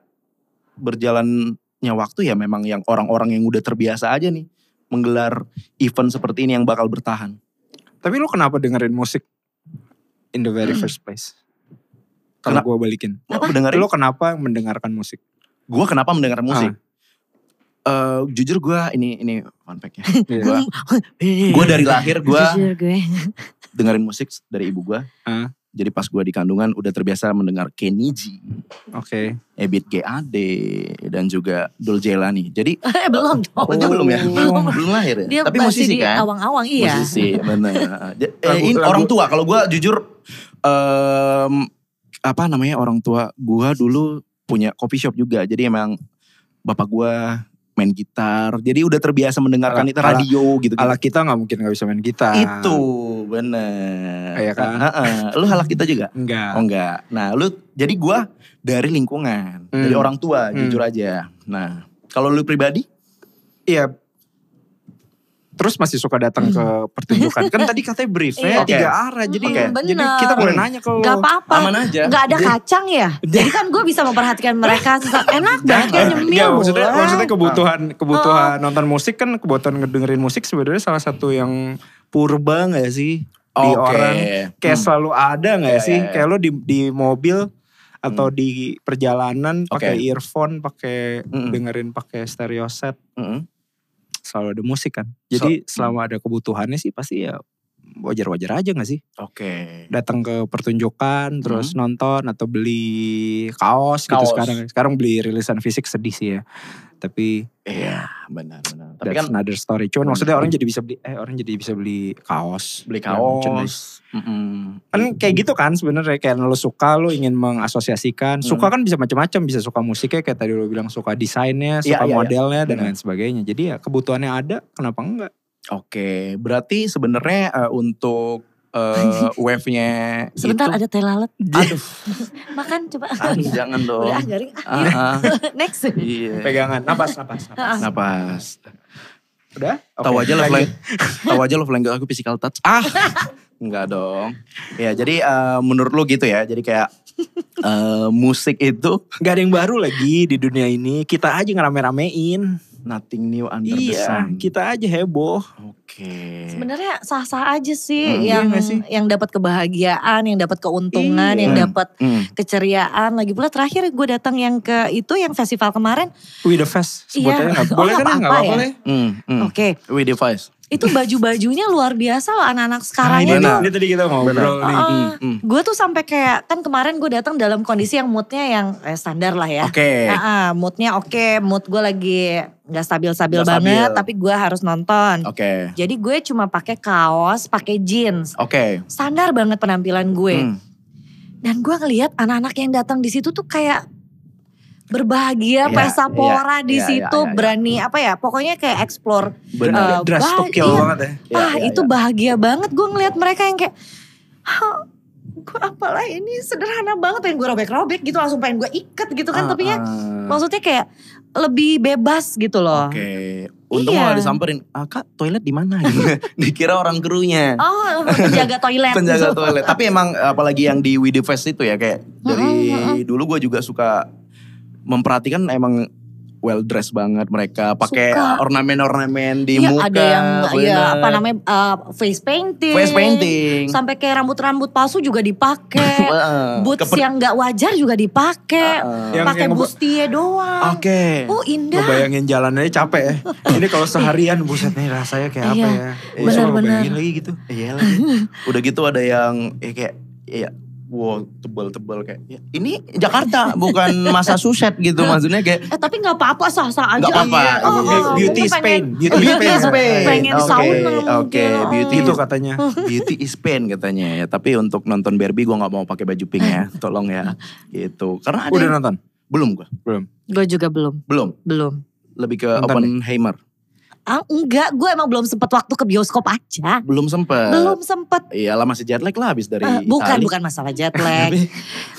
berjalannya waktu ya memang yang orang-orang yang udah terbiasa aja nih menggelar event seperti ini yang bakal bertahan. Tapi lu kenapa dengerin musik in the very first place? Kalau Kenapa? gue balikin. Gua dengerin, Lu kenapa mendengarkan musik? gua kenapa mendengar musik? Eh, jujur gua ini ini fun fact ya. Iya. gua, gua dari lahir gua Jujur ya, gue. dengerin musik dari ibu gua. Ah. Jadi pas gua di kandungan udah terbiasa mendengar Kenny G, Oke. Ebit GAD dan juga Dul Jelani. Jadi eh belum dong. oh, dia belum ya? Belum. belum lahir ya. Dia Tapi masih di musisi kan? awang-awang iya. Musisi, benar. Ja- eh, Lagu- ini lagu- orang tua. Kalau gue jujur, em, apa namanya orang tua gue dulu punya coffee shop juga. Jadi emang bapak gue main gitar. Jadi udah terbiasa mendengarkan Ala- itu radio gitu. Ala kita nggak mungkin nggak bisa main gitar. itu bener. Iya kan? Heeh. Lu halak kita juga? Oh Enggak. enggak. Nah lu jadi gue dari lingkungan, dari Hmm. orang tua Hmm. jujur aja. Nah kalau lu pribadi? Iya. Terus masih suka datang ke pertunjukan. Kan tadi katanya Iya. briefnya tiga arah. Jadi, Oke. jadi Bener. kita boleh Hmm. nanya ke lu. Gak apa-apa. Aman aja. Gak ada kacang ya. Jadi kan gue bisa memperhatikan mereka. Susah- Enak banget ya nyemil. Oh. Iya, maksudnya, mulai. maksudnya kebutuhan kebutuhan nonton musik kan kebutuhan ngedengerin musik sebenarnya salah satu yang purba nggak sih di Oke. orang kayak Hmm. selalu ada nggak Iya, sih iya, iya. kayak lo di di mobil atau di perjalanan pakai Oke. Hmm. earphone pakai Mm-mm. dengerin pakai stereo set Mm-mm. selalu ada musik kan hmm. jadi selama ada kebutuhannya sih pasti ya wajar-wajar aja nggak sih Oke. datang ke pertunjukan terus nonton atau beli kaos, gitu Hmm. Kaos. sekarang sekarang beli rilisan fisik sedih sih ya tapi Iya, benar-benar. Tapi Tapi kan That's another story. Cuman Bener. maksudnya orang jadi bisa beli eh orang jadi bisa beli kaos. beli Ya, kaos. merchandise. Mm-mm. Kan kayak gitu kan sebenarnya kayak lo suka lo ingin mengasosiasikan. Hmm. Suka kan bisa macam-macam, bisa suka musiknya kayak tadi lo bilang suka desainnya, Iya, suka iya, iya. modelnya dan Bener. lain sebagainya. Jadi ya kebutuhannya ada, kenapa enggak? Oke, berarti sebenarnya eh, untuk eh, wave-nya Sebentar itu, ada teh lalat. gitu. Aduh, Makan coba. aduh, jangan kan, dong. Udah ah, garing. Ah, Ah, ah, Next. iya. Nah, Pegangan, napas, napas, napas. Napas. Udah? Oke. Tahu aja love lang- tahu aja love language aku physical touch. Ah. Enggak dong. Ya, jadi eh, menurut lu gitu ya. Jadi kayak eh, musik itu Gak ada yang baru lagi di dunia ini. Kita aja ngerame-ramein. nothing new under the Iya, sun. kita aja heboh. Oke. Sebenarnya sah-sah aja sih Eh. Hmm, iya yang nggak sih? yang dapat kebahagiaan, yang dapat keuntungan, Iya. yang Hmm. dapat Hmm. keceriaan. Lagi pula terakhir gue datang yang ke itu yang festival kemarin. With the fest. Sebut Iya. aja nggak Oh, boleh nggak kan? Gak apa-apa apa-apa ya? deh. Hmm. hmm. Oke, We device. itu baju-bajunya luar biasa loh anak-anak sekarang ini, itu. Iya, nah. benar. ini tadi kita ngobrol Ah, nih. Hmm, hmm. Gue tuh sampai kayak kan kemarin gue datang dalam kondisi yang moodnya yang eh, standar lah ya. Oke. Ah, ah, moodnya oke, mood gue lagi nggak stabil-stabil Nggak banget, stabil. Oh. tapi gue harus nonton. Oke. Jadi gue cuma pakai kaos, pakai jeans, Oke. standar banget penampilan gue. Hmm. Dan gue ngelihat anak-anak yang datang di situ tuh kayak berbahagia, Iya, pesta iya, pora di iya, iya, situ, iya. berani apa ya? Pokoknya kayak explore. Eh, Benar. Dress bah- tokil iya. banget ya. Iya, ah iya, itu iya. bahagia banget gue ngelihat mereka yang kayak "Hah, gue apalah ini sederhana banget pengen gue robek-robek gitu langsung pengen gue ikat gitu kan tapi ya Ah, ah. maksudnya kayak lebih bebas gitu loh Oke. Untung Iya. gak disamperin. Ah, kak toilet di mana? Gitu. Dikira orang krunya. oh penjaga toilet Penjaga toilet. Tapi emang apalagi yang di Widi Fest itu ya kayak dari dulu gue juga suka memperhatikan emang well dressed banget mereka pakai Suka. ornamen-ornamen di Iya, muka. ada yang ya bener. apa namanya uh, face painting Face painting. sampai kayak rambut-rambut palsu juga dipakai Heeh. boots ya. Kepen- yang nggak wajar juga Ah, dipakai Yang- pakai yang- bustie doang Oke. oh indah Ngebayangin jalanannya capek ya. Ini kalau seharian buset nih rasanya kayak apa Iya, ya. Iya, benar-benar. bayangin lagi gitu. Iya lagi. Udah gitu ada yang ya kayak ya wow tebel-tebel kayak ya, ini Jakarta bukan masa suset gitu maksudnya kayak Eh, tapi nggak apa-apa sah-sah aja. Nggak apa-apa. Iya. Oh, oh, oh. Beauty Mungkin is pain. pengen- Beauty Iya, is pain. iya, Pengen Oke, sauna mungkin. Oke, Oh. beauty Itu itu Gitu katanya. beauty is pain katanya ya. Tapi untuk nonton Barbie gue nggak mau pakai baju pink ya, tolong ya. Gitu. Karena ada Udah yang- nonton? belum gue, Gue juga belum, belum. belum. Lebih ke Nonton Oppenheimer. Ah, enggak, gue emang belum sempet waktu ke bioskop aja. Belum sempet. Iya, belum sempet. Iyalah masih jet lag lah abis dari Eh, bukan, Itali. bukan masalah jet lag.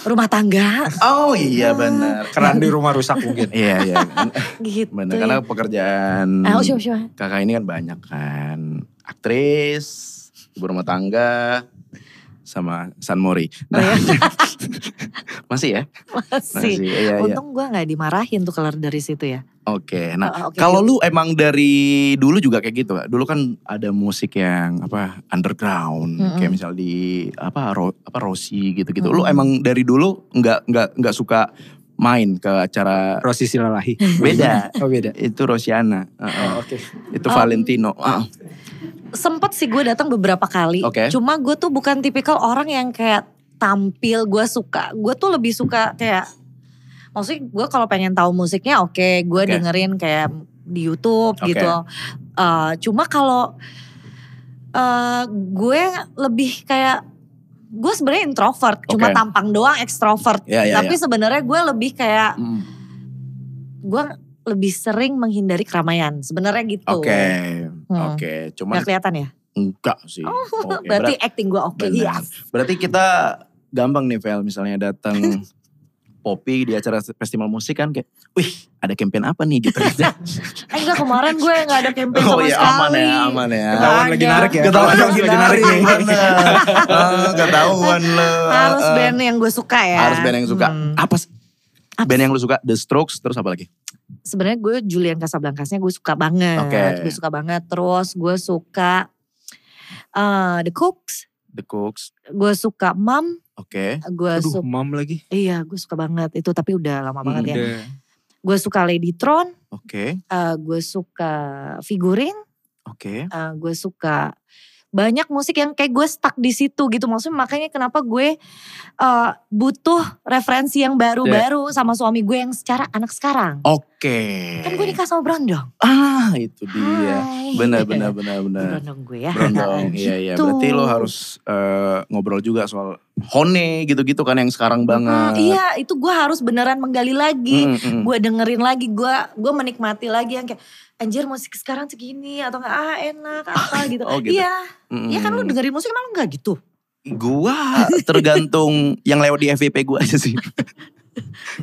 Rumah tangga Ah. Oh iya benar. Keran di rumah rusak mungkin. Iya iya. gitu. Benar karena pekerjaan. Ah, oh, siapa, siapa. kakak ini kan banyak kan aktris Oh, iya. ibu rumah tangga sama San Mori. Nah, Masih ya? Masih. Iya, iya. Untung gue gak dimarahin tuh kelar dari situ ya. Oke, nah Ah, oke. kalau lu emang dari dulu juga kayak gitu, dulu kan ada musik yang apa underground, Mm-mm. kayak misal di apa Ro, apa Rossi gitu-gitu. Lu Mm-mm. emang dari dulu nggak nggak nggak suka main ke acara Rosi Silalahi. beda. Oh beda. itu Rosiana, heeh. Oke. itu Um, Valentino. Ah, Sempet sih gue datang beberapa kali. Oke. Cuma gue tuh bukan tipikal orang yang kayak tampil gue suka. Gue tuh lebih suka kayak maksudnya gue kalau pengen tahu musiknya oke, gue Oke. dengerin kayak di YouTube Oke. gitu. Eh, cuma kalau eh, gue lebih kayak gue sebenarnya introvert, cuma Oke. tampang doang ekstrovert. Ya, ya, Tapi sebenarnya gue lebih kayak mm, gue lebih sering menghindari keramaian. Sebenarnya gitu. Oke, Hmm. oke. Cuman Gak kelihatan ya? enggak sih. Iya. Oke, Oh, Berarti acting gue oke. Benar. Iya. Berarti kita gampang nih Vel misalnya datang Poppy di acara festival musik kan kayak, wih ada campaign apa nih gitu. Eh enggak kemarin gue gak ada campaign sama sekali. aman ya, aman ya. Ketahuan lagi narik ya. Ketahuan lagi narik ya? lagi narik nih. nih. Ah, Ketahuan lo. Harus band yang gue suka ya. Eh, Harus band yang suka. Hmm. Apa sih? Apa Band yang lu suka The Strokes terus apa lagi? Sebenarnya gue Julian Casablancasnya gue suka banget. Oke. Gue suka banget. Terus gue suka eh, The Cooks. The Cooks. Gue suka Mom. Oke. Gue suka. Aduh, mam lagi. Iya gue suka banget. Itu tapi udah lama banget Hmm, ya. Udah. Gue suka Lady Tron. Oke. eh, gue suka Figurin. Oke. Eh, gue suka banyak musik yang kayak gue stuck di situ gitu maksudnya makanya kenapa gue eh, butuh referensi yang baru-baru Iya. sama suami gue yang secara anak sekarang Oke. kan gue nikah sama Brondong Ah itu dia. Hai. Benar benar benar benar. Brondong gue ya Berondong, iya iya. Gitu. Berarti lo harus eh, ngobrol juga soal hone gitu-gitu kan yang Hmm, sekarang banget. iya itu gue harus beneran menggali lagi Mm, mm, mm. gue dengerin lagi gue gue menikmati lagi yang kayak anjir musik sekarang segini atau enggak ah enak apa gitu. Oh, gitu. iya Mm, iya kan lu mm. dengerin musik emang lu enggak gitu Gua tergantung yang lewat di FVP gua aja sih.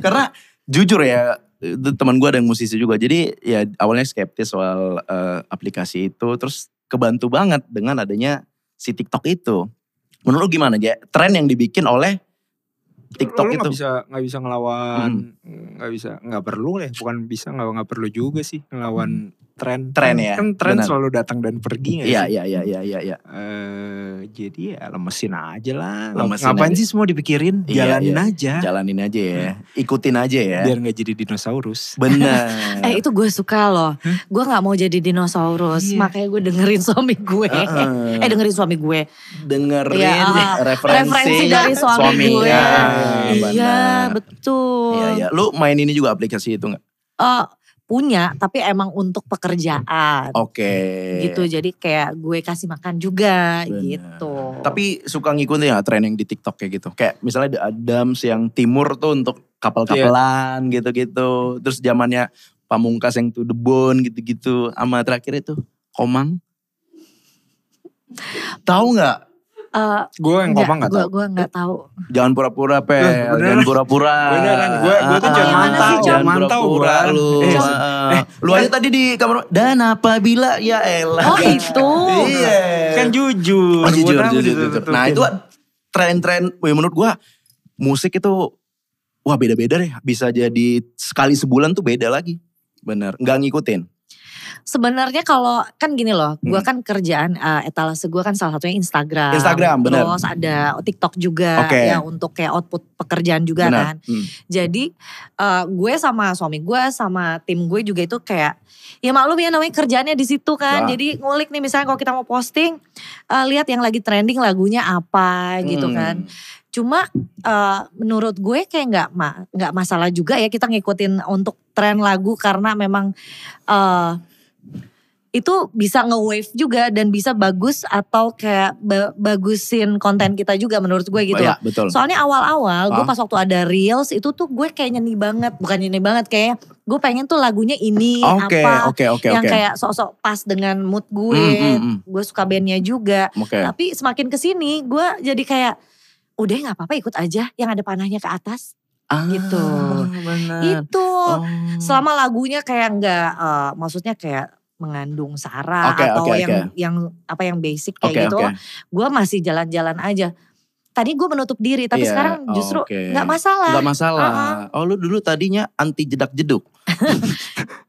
Karena jujur ya, itu teman gua ada yang musisi juga. Jadi ya awalnya skeptis soal eh, aplikasi itu. Terus kebantu banget dengan adanya si TikTok itu. Menurut lu gimana ya? Tren yang dibikin oleh TikTok lu nggak itu. Hmm. bisa nggak bisa ngelawan nggak bisa nggak perlu lah ya. bukan bisa nggak nggak perlu juga sih ngelawan tren Tren Kan- ya, kan tren benar. selalu datang dan pergi nggak Iya sih iya iya iya iya. iya. Eh, jadi ya lemesin aja lah Lemesin Ah, ngapain aja. sih Hmm. semua dipikirin Iya, jalanin iya. aja Jalanin aja ya. Ikutin aja ya. biar nggak jadi dinosaurus Bener. Eh itu gue suka loh. Gue gak mau jadi dinosaurus. Iya. Makanya gue dengerin suami gue. Heeh. Eh dengerin suami gue. dengerin Iya, ah, referensi, Referensi dari suami, gue. Ya, iya benar. betul. Iya, iya. Lu main ini juga aplikasi itu gak? Eh, punya tapi emang untuk pekerjaan. Oke. Gitu jadi kayak gue kasih makan juga Benar. gitu. Tapi suka ngikutin ya tren yang di TikTok kayak gitu. Kayak misalnya The Adams yang timur tuh untuk Iya. kapal-kapelan gitu-gitu. Terus zamannya Pamungkas yang tuh debon gitu-gitu. Sama terakhir itu Komang. Tahu nggak? Eh, gue yang enggak, ngomong nggak gue, tahu gue gak tahu. Jangan pura-pura, Pel. Loh, jangan beneran. pura-pura. Beneran, gua- gua tuh Ah, jangan ah, mantau, Jangan jangan mantau, pura-pura bukan. lu. Eh, Ah, ah. lu aja tadi di kamar, dan apabila ya elah. Oh itu. Iya. kan jujur Oh, jujur, gua tahu gitu. jujur, jujur. ditutup-tutupin. Nah itu tren-tren, ya menurut gua musik itu, wah beda-beda deh. Bisa jadi sekali sebulan tuh beda lagi. Bener, nggak ngikutin. Sebenarnya kalau kan gini loh, gue Hmm. kan kerjaan eh, etalase gue kan salah satunya Instagram. Instagram, benar. Terus ada TikTok juga Oke. ya untuk kayak output pekerjaan juga kan. Bener. Hmm. Jadi eh, gue sama suami gue sama tim gue juga itu kayak ya maklum ya namanya kerjaannya di situ kan. Wah. Jadi ngulik nih misalnya kalau kita mau posting eh, lihat yang lagi trending lagunya apa gitu Hmm. kan. Cuma eh, menurut gue kayak nggak ma- nggak masalah juga ya kita ngikutin untuk tren lagu karena memang eh, itu bisa nge-wave juga dan bisa bagus atau kayak ba- bagusin konten kita juga menurut gue gitu. Ya, betul. Soalnya awal-awal gue Ah. pas waktu ada reels itu tuh gue kayak nyeni banget, bukan nyeni banget kayak gue pengen tuh lagunya ini Oke, apa oke, oke, yang oke. kayak sok-sok pas dengan mood gue. gitu. Hmm, hmm, hmm. Gue suka bandnya juga, Oke. tapi semakin kesini gue jadi kayak udah nggak apa-apa ikut aja yang ada panahnya ke atas Ah, gitu. bener. Iya, itu Nah. Oh. selama lagunya kayak nggak eh, maksudnya kayak mengandung sara Oke, atau oke, yang yang apa yang basic kayak Oke, gitu oke. gue masih jalan-jalan aja tadi gue menutup diri tapi Iya, sekarang oh, justru oke. nggak masalah Ah, Gak masalah. Oh lu dulu tadinya anti jedak jeduk.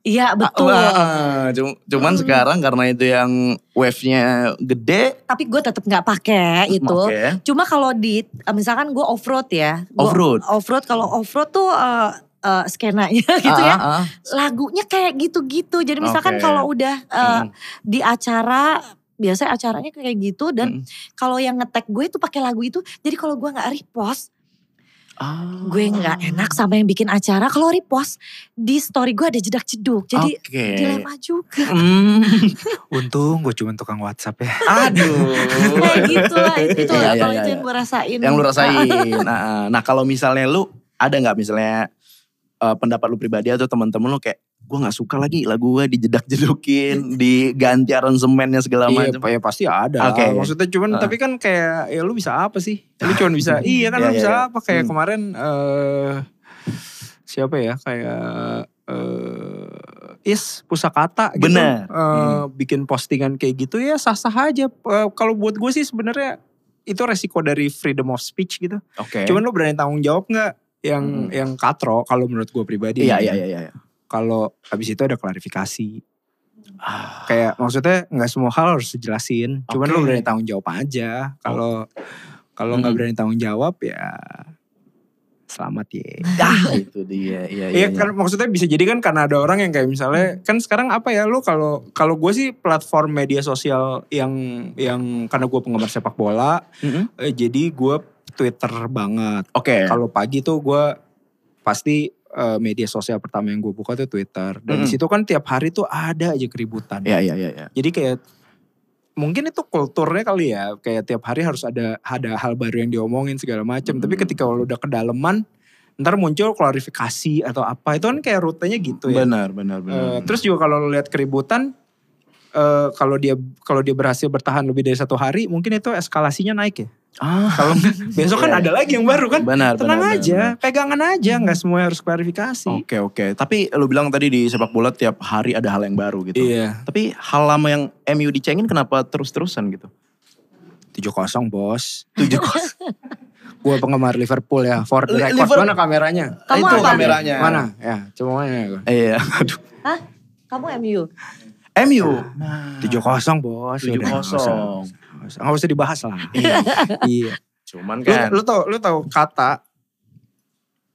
iya betul Ah, ah, ah. Cum- Cuman Hmm. sekarang karena itu yang wave-nya gede. tapi gue tetap nggak pakai itu make. Cuma kalau di eh, misalkan gue off road ya, Gua Off-road. off road kalau off road tuh eh, eh, skenanya gitu Ah, ya, ah, ah. lagunya kayak gitu-gitu. Jadi misalkan Oke. kalau udah eh, Mm-mm. di acara biasanya acaranya kayak gitu dan Mm. kalau yang ngetek gue itu pakai lagu itu. Jadi kalau gue nggak repost, Ah. gue nggak enak sama yang bikin acara. Kalau repost di story gue ada jedak jeduk. Jadi Oke. dilema juga. Hmm, Untung gue cuma tukang WhatsApp ya. aduh. Kayak gitu lah, itu, itu Iya, lah iya, kalau iya, itu iya. yang gue rasain. Ah, yang lu rasain. Nah, nah kalau misalnya lu ada nggak misalnya eh, pendapat lu pribadi atau teman-teman lu kayak gue nggak suka lagi lagu gue dijedak-jedukin, diganti aransemennya segala Iya, macam. pa- ya pasti ada. Oke. Maksudnya cuman Ah. tapi kan kayak ya lu bisa apa sih? Lu cuman bisa iya kan Iya, lu iya, bisa iya. apa kayak Hmm. kemarin eh siapa ya kayak eh is pusakata gitu. Benar. Eh, Hmm. bikin postingan kayak gitu ya sah-sah aja. Eh, kalau buat gue sih sebenarnya itu resiko dari freedom of speech gitu. Oke. Cuman lu berani tanggung jawab nggak Hmm. yang yang katro kalau menurut gue pribadi. gitu? iya iya iya iya. Kalau habis itu ada klarifikasi. Ah, kayak maksudnya nggak semua hal harus dijelasin cuman Oke. lo berani tanggung jawab aja kalau kalau nggak Mm. berani tanggung jawab ya selamat ya ah, itu dia. Iya iya. Hmm. Iya kan maksudnya bisa jadi kan karena ada orang yang kayak misalnya kan sekarang apa ya lo kalau kalau gue sih platform media sosial yang yang karena gue penggemar sepak bola Mm-mm. eh, jadi gue Twitter banget Oke. kalau pagi tuh gue pasti eh, media sosial pertama yang gue buka tuh Twitter dan Mm-mm. di situ kan tiap hari tuh ada aja keributan Iya iya iya. iya. Jadi kayak mungkin itu kulturnya kali ya, kayak tiap hari harus ada ada hal baru yang diomongin segala macam. Tapi ketika lo udah kedalaman, ntar muncul klarifikasi atau apa. Itu kan kayak rutenya gitu ya. Benar benar benar. Eh, terus juga kalau lo lihat keributan eh, kalau dia kalau dia berhasil bertahan lebih dari satu hari, mungkin itu eskalasinya naik ya. ah, Kalau nggak, besok kan Iya. ada lagi yang baru kan. benar Tenang benar, aja, benar, benar. pegangan aja, nggak semua harus klarifikasi. Oke oke. Tapi lu bilang tadi di sepak bola tiap hari ada hal yang baru gitu. Iya, Tapi hal lama yang MU dicengin kenapa terus-terusan gitu? tujuh kosong bos. Tujuh kosong. Gue penggemar Liverpool ya. For the Li- record, Liver- mana kameranya? Kamu itu apa? kameranya. Mana? Ya, cuma mana? Iya, aduh. Hah? Kamu MU? MU. Tujuh kosong bos. Tujuh Udah, nggak usah- kosong. nggak usah- Nggak usah dibahas lah. iya. Cuman Lu, kan. lu tau, lu tau kata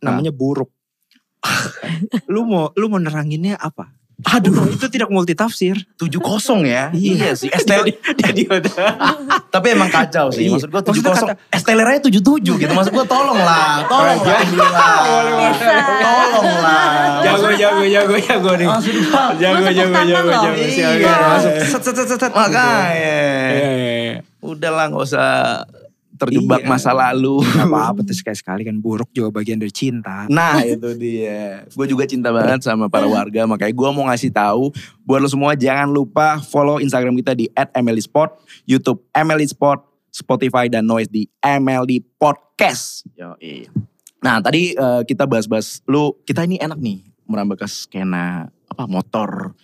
namanya buruk. lu mau, lu mau neranginnya apa? Aduh, itu tidak multitafsir. Tujuh kosong ya. Iya. sih. Esteler. Tapi emang kacau sih. Iya. Maksud gue tujuh Maksudnya kosong. Estelernya tujuh tujuh gitu. Maksud gue tolong lah. Tolong lah. Iya. Boleh, boleh. Tolong lah. Jago, jago, jago, jago nih. Maksud gua, Jago, Masuk jago, tangan jago, loh. jago. Siap, Iya. masuk. Set, set, set, set, set. Iya, Makanya. iya, iya. Udah lah gak usah terjebak Iya. masa lalu. Gak apa-apa tuh sekali-sekali kan buruk juga bagian dari cinta. Nah itu dia. Gue juga cinta banget sama para warga. Makanya gue mau ngasih tahu buat lo semua jangan lupa follow Instagram kita di @mlsport, YouTube mlsport, Spotify dan Noise di MLD Podcast. Yoi. Nah tadi eh, kita bahas-bahas lu kita ini enak nih merambah ke skena apa motor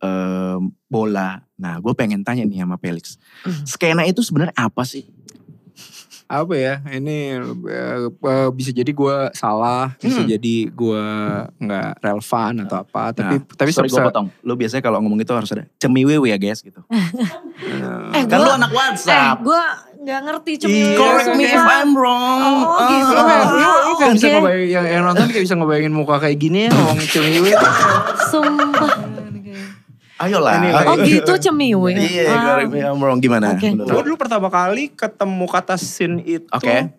eh, bola. Nah gue pengen tanya nih sama Felix. Hmm. Skena itu sebenarnya apa sih? apa ya ini eh, eh, bisa jadi gua salah bisa Hmm. jadi gua nggak relevan atau apa tapi Nah, tapi sorry gue sebisa- potong. Lu biasanya kalau ngomong itu harus ada cemiwewe ya guys gitu. Eh, gua- Kan lu anak Eh, WhatsApp. gue gak ngerti cumi. Iya, Correct me if I'm wrong. Oh, gitu. Lu kayak- lu- lu kayak Oke. bisa ngebayangin yang, yang nonton kayak bisa ngebayangin muka kayak gini ya ngomong cemiwe Sumpah. Ayolah. Ini, Oh ya. gitu Ah. cemiwe. Iya, Wow. correct me if I'm wrong. Gimana? Oke. menurut lu? gue dulu pertama kali ketemu kata sin itu Oke.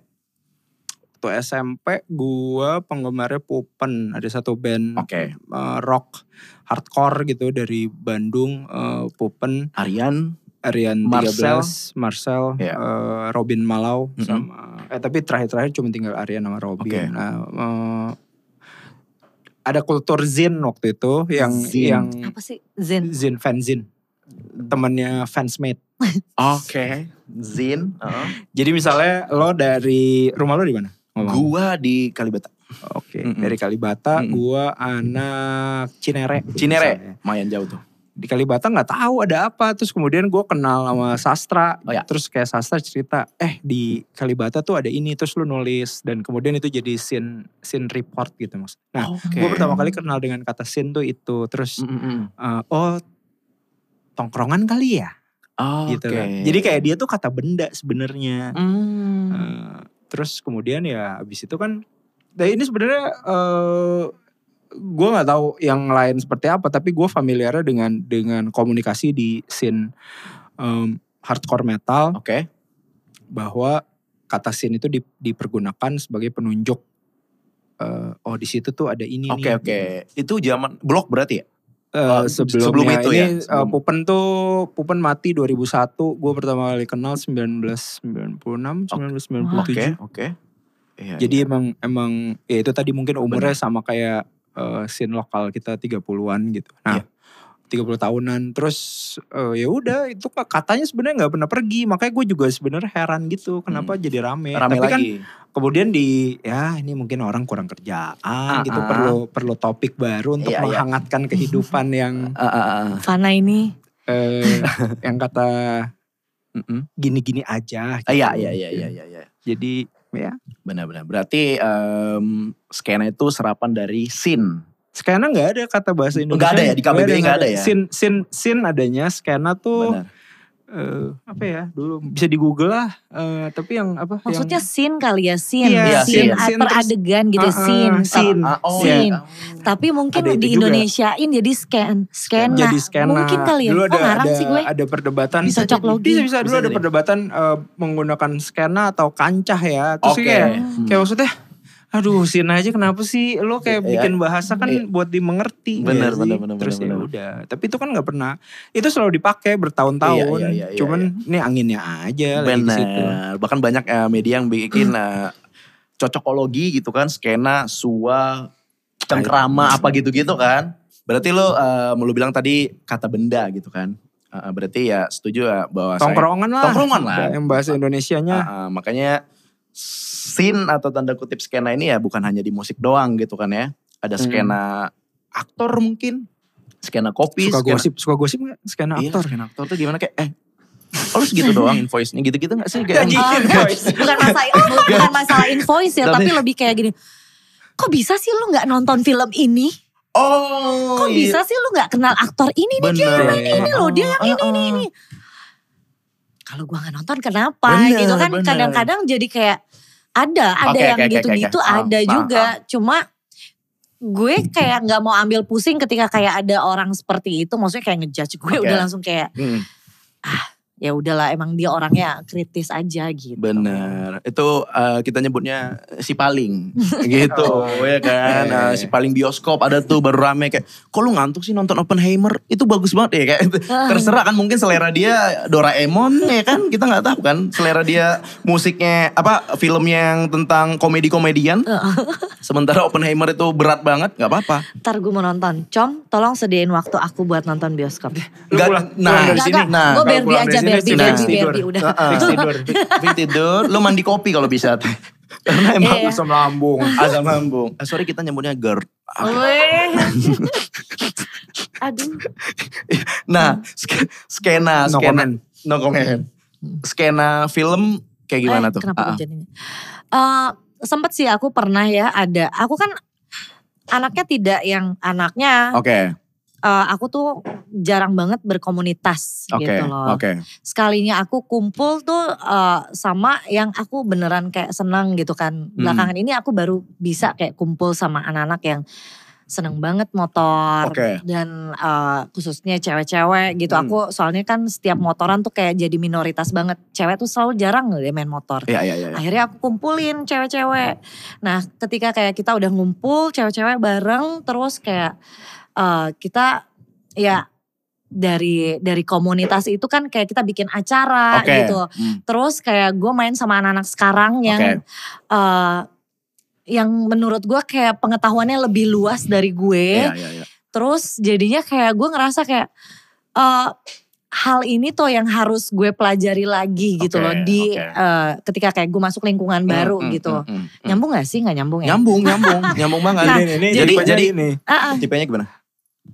waktu SMP gua penggemarnya Pupen ada satu band Oke. eh, rock hardcore gitu dari Bandung eh, Pupen Arian. Arian Marcel. 13, Marcel, Ya. eh, Robin Malau Mm-mm. sama eh tapi terakhir-terakhir cuma tinggal Arian sama Robin. Oke. Nah, eh, ada kultur zin waktu itu yang Zin. yang Apa sih? Zen. zin fanzin. Temannya fansmate. Oke. Uh-huh. Zin. Heeh. Jadi misalnya lo dari rumah lo di mana? Ngomong. Gua di Kalibata. Oke, Mm-mm. dari Kalibata, Mm-mm. gua anak Cinere. Cinere. misalnya. Mayan jauh tuh. di Kalibata nggak tahu ada apa terus kemudian gue kenal sama sastra Oh ya. terus kayak sastra cerita eh di Kalibata tuh ada ini terus lu nulis dan kemudian itu jadi scene scene report gitu mas nah gue pertama kali kenal dengan kata scene tuh Hmm. itu terus eh, oh tongkrongan kali ya Oh, gitu kan jadi kayak dia tuh kata benda sebenarnya Hmm. Eh, terus kemudian ya abis itu kan, nah ini sebenarnya eh gue nggak tahu yang lain seperti apa, tapi gue familiarnya dengan dengan komunikasi di scene em, hardcore metal Oke. bahwa kata scene itu di- dipergunakan sebagai penunjuk. eh, oh di situ tuh ada ini. Oke nih. oke. Itu zaman blok berarti ya? Eh, Eh, sebelumnya sebelum itu ini, ya, eh, sebelum- Pupen tuh Pupen mati 2001, gue pertama kali kenal 1996, Oke 1997. oke. Iya, iya. Jadi emang emang ya itu tadi mungkin umurnya sama kayak eh, scene lokal kita 30-an gitu. Iya. Nah, 30 tahunan. Terus eh, ya udah itu ka- katanya sebenarnya nggak pernah pergi. Makanya gue juga sebenarnya heran gitu kenapa jadi rame. Hmm. rame Tapi kan lagi. kemudian di ya ini mungkin orang kurang kerjaan gitu Ah-ah. perlu perlu topik baru untuk Ah, Iya, iya. menghangatkan kehidupan yang Ah, ah, ah. Fana ini eh, yang kata Mm-mm. gini-gini aja. Ah, gitu. Iya iya iya iya iya. iya. Jadi Benar-benar. Berarti em, skena itu serapan dari scene. Skena nggak ada kata bahasa Indonesia. Nggak ada ya, di KBBI nggak ada ya? Sin sin sin adanya skena tuh Benar. eh, apa ya? Dulu bisa di Google lah. eh, tapi yang apa? maksudnya yang, scene kali ya scene, scene, Iya, scene. ad- Scene per terus- adegan gitu Ah, ah, scene, scene. Ta- Ah, oh, Scene. iya. Tapi mungkin Ada itu di juga. Indonesiain jadi scan, skena. jadi skena. Mungkin kali ya. Dulu ada oh, ngarang ada, sih gue. ada perdebatan. Bisa jadi. cocok logi. Bisa bisa, dulu Bisa ada jadi. perdebatan eh, menggunakan skena atau kancah ya. Terus Oke. kayak Hmm. kayak maksudnya aduh sin aja kenapa sih lo kayak Iya. bikin bahasa kan Iya. buat dimengerti Bener, bener, ya sih? bener, terus bener, ya bener. udah tapi itu kan nggak pernah itu selalu dipakai bertahun-tahun Iya, iya, iya, cuman ini anginnya aja lagi di situ Hmm. Benar. Bahkan banyak eh, media yang bikin eh, cocokologi gitu kan, skena, sua, cengkrama apa gitu-gitu kan. Berarti lo eh, lu bilang tadi kata benda gitu kan. Eh, eh, berarti ya setuju ya bahwa saya- tongkrongan lah Tongkrongan lah. yang bahasa Indonesianya Ah, ah, makanya scene atau tanda kutip skena ini ya bukan hanya di musik doang gitu kan ya. Ada Hmm. skena aktor mungkin, skena kopi, suka skena, gosip suka gosip nggak kan? skena Iya, aktor skena aktor tuh gimana kayak eh Oh lu segitu doang invoice-nya gitu-gitu gak sih? Kayak, gitu. Ah, bukan masalah bukan masalah invoice ya, Gak tapi deh. lebih kayak gini. Kok bisa sih lu nggak nonton film ini? oh Kok iya. bisa sih lu nggak kenal aktor ini nih dia Bener. yang ini, ini loh dia yang ini ini ini. Kalau gua nggak nonton kenapa Bener, gitu kan bener. kadang-kadang jadi kayak ada ada Oke, yang oke, oke, gitu-gitu oke. Ah, ada ah, juga cuma gue kayak nggak mau ambil pusing ketika kayak ada orang seperti itu maksudnya kayak ngejudge gue Oke. udah langsung kayak Hmm. ya udahlah emang dia orangnya kritis aja gitu. Bener, itu eh, kita nyebutnya si paling gitu ya kan. Oh, Eh, Iya, iya, si paling bioskop ada tuh baru rame kayak, kok lu ngantuk sih nonton Oppenheimer? Itu bagus banget ya kayak Ah. terserah kan mungkin selera dia Doraemon ya kan kita nggak tahu kan selera dia musiknya apa film yang tentang komedi-komedian. Ah. Sementara Oppenheimer itu berat banget nggak apa-apa. Ntar gue mau nonton. Com, tolong sediain waktu aku buat nonton bioskop. Lu Nggak- pulang- nah, pulang dari Enggak, sini enggak. gue Kalau Barbie pulang dari aja, sini, Barbie, fix Barbie, tidur. Barbie, udah. Heeh. Fix tidur Tapi tidur, lu mandi kopi kalau bisa. Karena emang Iya. asam lambung Nah, azam lambung. Eh, sorry kita nyebutnya GERD. Weh. Aduh. Hmm. Nah, sk- skena, No skena, comment. no comment. Skena film kayak gimana Eh, tuh? Kenapa Ah, gue jadinya? Eh, sempet sih aku pernah ya ada. Aku kan anaknya tidak yang anaknya. Oke, eh, aku tuh jarang banget berkomunitas oke, gitu loh. oke. Sekalinya aku kumpul tuh eh, sama yang aku beneran kayak seneng gitu kan. Hmm. Belakangan ini aku baru bisa kayak kumpul sama anak-anak yang seneng banget motor. Oke. Dan eh, khususnya cewek-cewek gitu. Hmm. Aku soalnya kan setiap motoran tuh kayak jadi minoritas banget. Cewek tuh selalu jarang deh main motor. Iya, iya, iya. iya. Akhirnya aku kumpulin cewek-cewek. Nah, ketika kayak kita udah ngumpul cewek-cewek bareng terus kayak eh, kita ya dari dari komunitas itu kan kayak kita bikin acara Oke. gitu. Hmm. Terus kayak gue main sama anak-anak sekarang yang Oke. eh, yang menurut gue kayak pengetahuannya lebih luas dari gue. Iya, iya, iya. Terus jadinya kayak gue ngerasa kayak eh, hal ini tuh yang harus gue pelajari lagi gitu Oke, loh di oke. eh, ketika kayak gue masuk lingkungan baru Hmm, hmm, gitu. hmm, hmm, hmm. Nyambung gak sih nggak nyambung ya? Nyambung, nyambung, nyambung banget. Nah, ini, ini jadi- tipenya jadi- ini. Ah, ah. Tipenya gimana?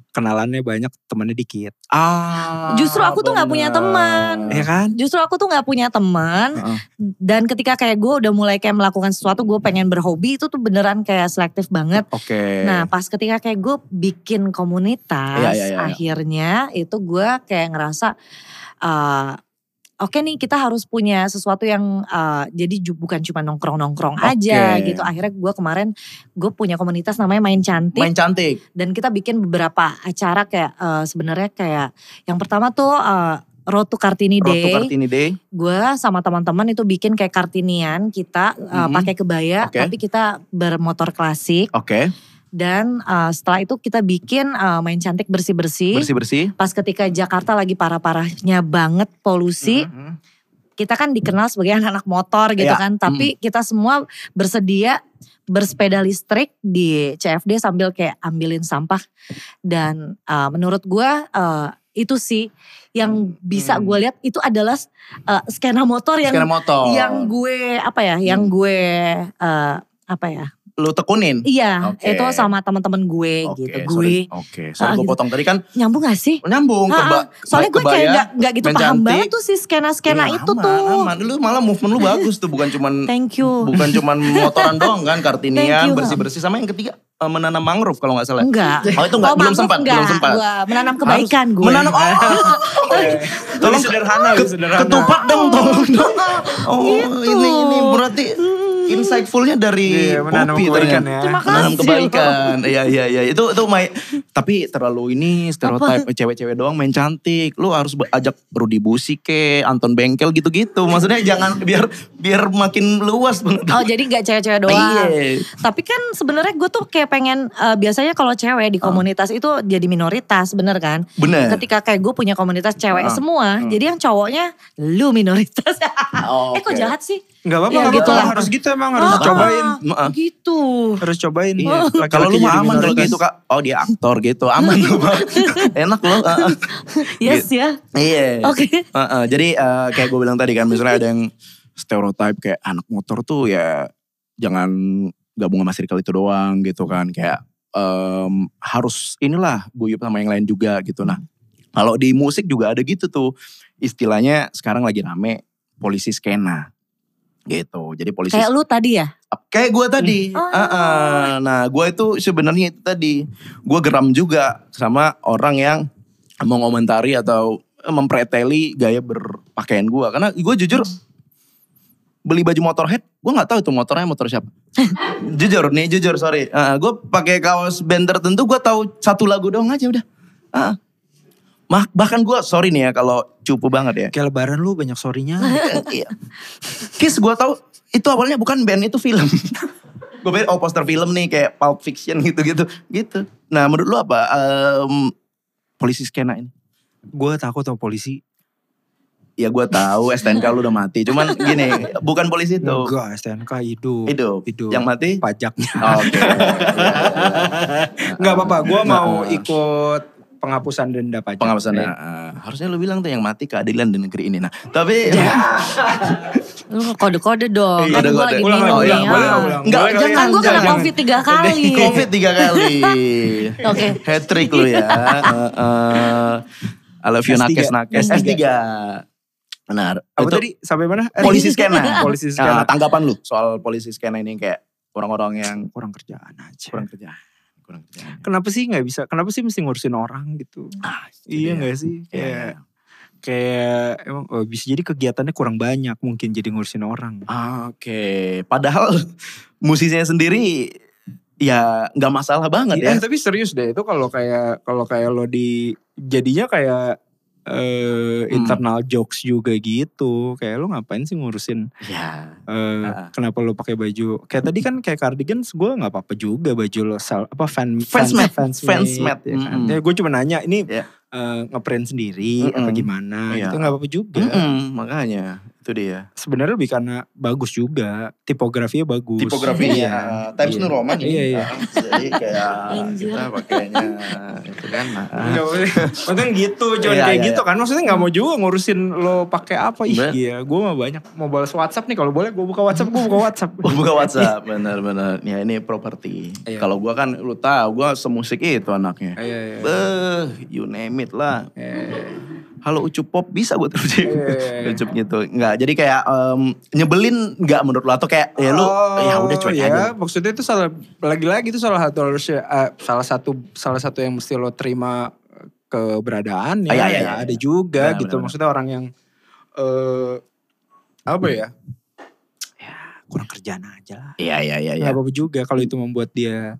kenalannya banyak, temannya dikit. Ah, Justru aku tuh nggak punya bener. teman. Nah. Ya kan? Justru aku tuh nggak punya teman Heeh. dan ketika kayak gue udah mulai kayak melakukan sesuatu gue pengen berhobi itu tuh beneran kayak selektif banget. Oke. Nah pas ketika kayak gue bikin komunitas Iya, iya, iya, iya. akhirnya itu gue kayak ngerasa eh, oke nih kita harus punya sesuatu yang eh, jadi ju- bukan cuma nongkrong-nongkrong aja Oke. gitu. Akhirnya gue kemarin gue punya komunitas namanya Main Cantik Main cantik. dan kita bikin beberapa acara kayak eh, sebenarnya kayak yang pertama tuh eh, Road to Kartini Rotu Day Kartini Day. gue sama teman-teman itu bikin kayak kartinian kita uh, Mhm. pakai kebaya Oke. tapi kita bermotor klasik Oke. dan uh, setelah itu kita bikin uh, main cantik bersih-bersih Bersih bersih. pas ketika Jakarta lagi parah-parahnya banget polusi kita kan dikenal sebagai anak-anak motor gitu kan Mm-hmm. Iya, tapi kita semua bersedia bersepeda listrik di CFD sambil kayak ambilin sampah dan uh, menurut gue uh, itu sih yang bisa Mm-hmm. gue lihat itu adalah uh, skena motor yang Sekarang motor. Mm-hmm. yang gue apa ya yang gue eh, apa ya lu tekunin. iya Oke. itu sama teman-teman gue Oke, gitu gue sorry. Oke, Ah, sorry gue gitu. potong tadi kan nyambung gak sih nyambung Ah, keba, ah. soalnya gue kayak kebaya, gak, gak gitu main paham cantik. banget tuh sih skena-skena Ya, itu aman, tuh aman. Lu malah movement lu bagus tuh, bukan cuman thank you bukan cuman motoran doang kan, Thank kartinian, you, Ham. bersih-bersih sama yang ketiga eh, menanam mangrove kalau nggak salah. enggak Oh itu Oh, enggak, belum mampus sempat, enggak. belum sempat. Gua menanam kebaikan Harus gue Menanam oh. Tolong oh. sederhana, ke- sederhana. Ketupat dong, tolong dong. Oh, Gitu. ini ini berarti insightfulnya dari Iya, menanam kopi kebaikan ternyata. ya. Terima Menanam kasih. kebaikan. Iya iya iya. Itu itu my- tapi terlalu ini stereotype cewek-cewek doang main cantik. Lu harus be- ajak Rudi Busi ke Anton Bengkel gitu-gitu. Maksudnya jangan biar biar makin luas Oh pengetahuan. jadi gak cewek-cewek doang. Iya. Tapi kan sebenarnya gue tuh kayak pengen eh, biasanya kalau cewek Ah. di komunitas itu jadi minoritas, bener kan? Bener. Ketika kayak gue punya komunitas cewek Iya. Ah. semua, jadi yang cowoknya lu minoritas. Oh, Eh kok oke. jahat sih? Nggak apa-apa, Iya, Ya, nggak gitu apa-apa. lah. harus gitu emang harus Ah, cobain, ah, Maaf. gitu. harus cobain. Oh, Iya. Laki-laki Kalau lu jadi mah aman kalau minoritas. gitu kak. Oh dia aktor gitu. Aman lu Pak. Enak lu. Heeh. Yes ya. Iya. Oke. Heeh, jadi eh, kayak gue bilang tadi kan misalnya ada yang stereotype kayak anak motor tuh ya jangan gabung sama circle itu doang gitu kan. Kayak em, harus inilah guyup sama yang lain juga gitu. Nah kalau di musik juga ada gitu tuh. Istilahnya sekarang lagi rame polisi skena gitu. Jadi polisi Kayak lu tadi ya. kayak gue tadi. Hmm. Oh. Heeh. Nah, gue itu sebenarnya itu tadi gue geram juga sama orang yang mau komentari atau mempreteli gaya berpakaian gue. Karena gue jujur beli baju motorhead, gue nggak tahu itu motornya motor siapa. jujur nih, jujur sorry. gue pakai kaos band tertentu, gue tahu satu lagu doang aja udah. Heeh. Mah- bahkan gue sorry nih ya kalau cupu banget ya. Kayak lebaran lu banyak sorry-nya. Iya. Kiss gue tahu itu awalnya bukan band itu film. gue pikir oh poster film nih kayak Pulp Fiction gitu-gitu gitu. Nah menurut lu apa em, polisi skena ini? gue takut sama polisi. Ya gue tahu STNK lu udah mati. Cuman gini bukan polisi itu Enggak, STNK hidup. hidup. Hidup. Yang mati? Pajaknya. Oke. Enggak apa-apa, gue mau Nah. ikut penghapusan denda pajak. Pengawasan. Eh, harusnya lu bilang tuh yang mati keadilan di negeri ini. Nah tapi Lu kode-kode dong. Kan gue Kode-kode. lagi Ulang, minum ulang, nih. ulang, ulang, ah. ulang. Enggak, Boleh kali Kan jangan, gue kena jangan. covid tiga kali. Covid tiga kali. Oke. Hat trick lu ya. Heeh. I love you S3. nakes nakes. S3. S3. Benar. Apa itu tadi? Sampai mana? Eh, polisi skena. polisi Nah, skena. tanggapan lu soal polisi skena ini kayak orang-orang yang kurang kerjaan aja. kurang kerja. Kurang kerjaan. Kenapa sih nggak bisa? Kenapa sih mesti ngurusin orang gitu? Ah, itu iya dia. nggak sih? Iya, Kayak iya. kayak emang oh, bisa jadi kegiatannya kurang banyak mungkin jadi ngurusin orang. Ah, Oke, padahal musisinya sendiri ya nggak masalah banget ya. Iya, tapi serius deh itu kalau kayak kalau kayak lo di jadinya kayak eh, Hmm. internal jokes juga gitu. Kayak lo ngapain sih ngurusin Ya. eh, Ah. kenapa lo pakai baju? Kayak tadi kan kayak cardigans gue nggak apa-apa juga baju lo sel, apa fan Fans made, fans fans made, made, ya kan. mm-mm. Ya, gue cuma nanya ini Iya. eh, ngeprint sendiri apa Mm-mm. gimana? Iya. Itu nggak apa-apa juga. Mm-mm, makanya itu Itu dia. Sebenarnya lebih karena bagus juga, tipografinya bagus. Tipografinya uh, Times Iya. New Roman ini. Iya, iya. uh, Jadi kayak Anjir. kita pakainya itu kan. uh, Enggak, maksudnya- maksudnya gitu, jangan Iya, kayak iya, gitu kan. Maksudnya nggak mau juga ngurusin lo pakai apa. Ih, Bener. iya, gue mah banyak. Mau balas WhatsApp nih, kalau boleh gue buka WhatsApp, gue buka WhatsApp. Oh, Buka WhatsApp, benar-benar. Ya ini properti. Iya. Kalau gua kan lu tahu gua semusik itu anaknya. Iya, iya. Beuh, you name it lah. Eh, Halo ucup pop bisa gue terjun. Iya. ucup gitu. Enggak, jadi kayak em, nyebelin enggak menurut lo atau kayak ya lu oh, ya udah cuek ya, aja. Maksudnya itu salah lagi-lagi itu salah satu harusnya, eh, salah satu salah satu yang mesti lo terima keberadaan ya. Ah, iya, iya, Ya, iya. Ada juga Benar, gitu. benar, Maksudnya orang yang eh apa ya? Ya, kurang kerjaan aja lah. Iya iya iya iya. Gak apa-apa juga kalau itu membuat dia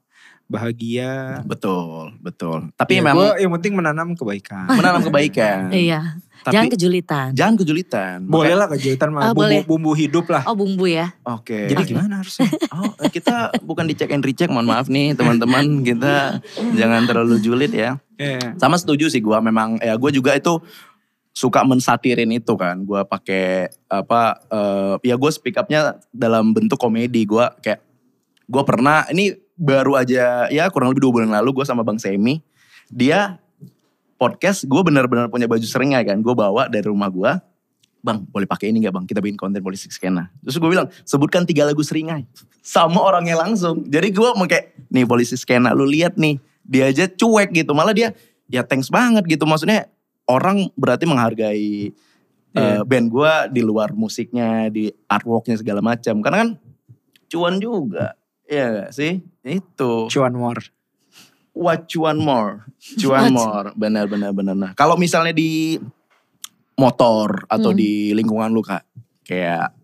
bahagia. Betul, betul. Tapi Ya, memang gua yang penting menanam kebaikan. menanam kebaikan. Iya, Tapi jangan kejulitan. jangan kejulitan. Boleh lah kejutan mah Ah, bumbu, boleh. bumbu hidup lah. Oh bumbu ya. Oke. Jadi gimana harusnya? Oh, kita bukan dicek and recheck, mohon maaf nih teman-teman, kita jangan terlalu julid ya. Iya. Sama setuju sih gua memang ya gua juga itu suka mensatirin itu kan. Gua pakai apa eh, ya gue speak up-nya dalam bentuk komedi. Gua kayak gua pernah ini baru aja ya kurang lebih dua bulan lalu gua sama Bang Semi dia podcast gue benar-benar punya baju seringai kan gue bawa dari rumah gua bang boleh pakai ini nggak bang kita bikin konten politik skena terus gue bilang sebutkan tiga lagu seringai sama orangnya langsung jadi gue mau kayak nih polisi skena lu lihat nih dia aja cuek gitu malah dia ya thanks banget gitu maksudnya orang berarti menghargai eh, band gue di luar musiknya di artworknya segala macam karena kan cuan juga Iya gak sih itu Cuan war. What you want more? What? Cuan more. Benar benar benar. Nah, kalau misalnya di motor atau Hmm. di lingkungan lu Kak, kayak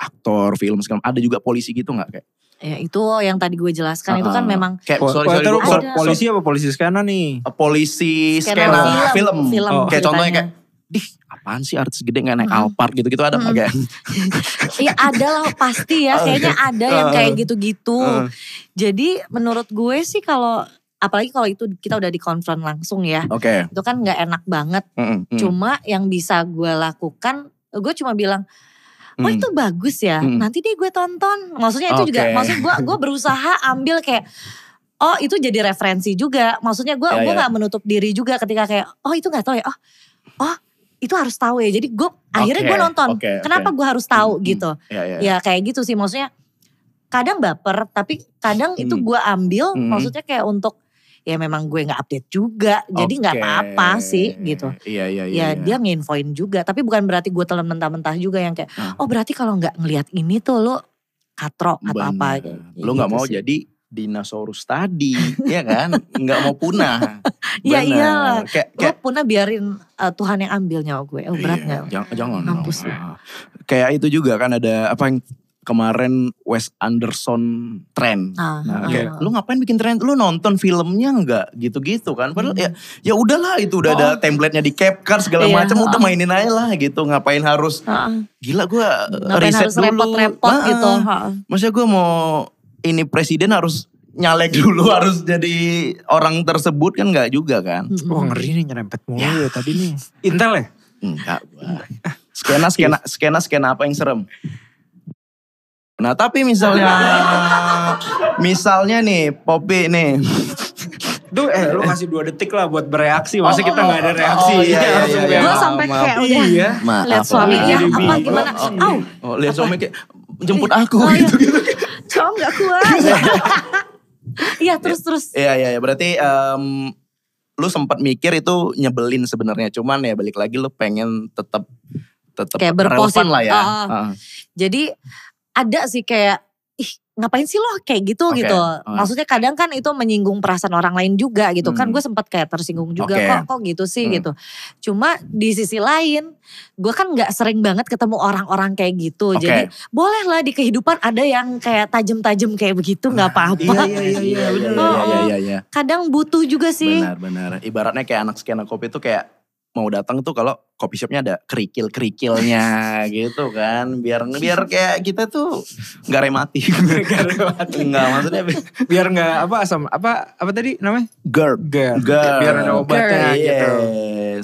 aktor film segala ada juga polisi gitu nggak kayak? Ya itu yang tadi gue jelaskan itu kan Uh-uh. memang kayak Po- sorry, po- sorry, terus gua- po- Ada. polisi apa polisi skena nih? eh, polisi Skena skena film, film. film gitu kan ya. Oh. Kayak contohnya kayak ceritanya. Hmm. Dih, apaan sih artis gede nggak naik Mm-mm. Alphard gitu-gitu ada nggak Mm-mm. kayak? Iya ada lah pasti ya kayaknya ada yang kayak gitu-gitu. Jadi menurut gue sih kalau apalagi kalau itu kita udah dikonfront langsung ya Oke. itu kan nggak enak banget. Mm-mm, mm. Cuma yang bisa gue lakukan gue cuma bilang Oh Mm. itu bagus ya. Hmm. Nanti deh gue tonton. Maksudnya itu juga, Oke. maksud gue gue berusaha ambil kayak oh itu jadi referensi juga. Maksudnya gue Ya, gue ya. nggak menutup diri juga ketika kayak oh itu nggak tahu ya. Oh oh itu harus tahu ya. Jadi gue akhirnya Oke, gue nonton. oke, oke. Kenapa gue harus tahu Hmm, gitu? Iya, iya. Ya kayak gitu sih. Maksudnya kadang baper, tapi kadang itu Hmm. gue ambil. Hmm. Maksudnya kayak untuk ya memang gue nggak update juga. Jadi nggak Oke. apa-apa sih gitu Iya, iya, iya. ya dia iya. nginfoin juga tapi bukan berarti gue telan mentah-mentah juga yang kayak Hmm. oh berarti kalau nggak ngelihat ini tuh lo katrok atau apa Iya, gitu Benar. Lu nggak mau jadi dinosaurus tadi, ya kan? Nggak mau punah. Iya, Benar. iyalah. Kayak, lo kayak punah biarin eh, Tuhan yang ambil nyawa gue oh berat Iya, nggak Jangan, jangan. Mampus dong. Ah. Kayak itu juga kan ada apa yang kemarin Wes Anderson tren. Ah, ah, Nah, kayak, ah. lu ngapain bikin tren? Lu nonton filmnya nggak? Gitu-gitu kan. Padahal ya ya udahlah itu udah ada template-nya di CapCut segala Hmm. Oh. Iya, macam, udah oh. mainin aja lah gitu. Ngapain harus Ah, ah. gila gua ngapain riset harus dulu. repot-repot Ah, gitu ah. Ah, ah. Maksudnya gue mau ini presiden harus nyalek dulu harus jadi orang tersebut kan nggak juga kan? Mm-mm. Wah ngeri nih nyerempet mulu ya tadi nih. Intel ya? Enggak gua. Skena skena skena skena apa yang serem? Nah tapi misalnya misalnya nih Poppy nih. Duh, eh lu kasih dua detik lah buat bereaksi. Masa Oh, kita oh, nggak ada oh, reaksi. oh, iya, iya, langsung iya, kayak, gue maaf, sampai maaf. kayak udah Iya. Maaf, lihat suaminya jadi apa bingung. gimana Oh, au Oh, lihat suami kayak jemput aku Oh, iya. gitu gitu. cowok nggak kuat iya terus terus Iya iya iya. berarti em, lu sempat mikir itu nyebelin sebenarnya cuman ya balik lagi lu pengen tetap tetap Kayak relevan berposit. lah ya. Ah, ah. Ah, Jadi ada sih kayak ih ngapain sih lo kayak gitu Oke, gitu. ah. Maksudnya kadang kan itu menyinggung perasaan orang lain juga gitu. Kan Hmm. gue sempat kayak tersinggung juga Oke. kok kok gitu sih Hmm. gitu. Cuma di sisi lain gue kan nggak sering banget ketemu orang-orang kayak gitu. Oke. Jadi bolehlah di kehidupan ada yang kayak tajam-tajam kayak begitu nggak apa-apa. Iya iya iya iya benar. Oh, Iya iya iya iya. Kadang butuh juga sih. Benar benar. Ibaratnya kayak anak skena kopi itu kayak mau datang tuh kalau coffee shopnya ada kerikil kerikilnya gitu kan biar biar kayak kita tuh nggak remati nggak maksudnya biar nggak apa asam apa apa tadi namanya GERD GERD GERD biar ada Iya, obatnya gitu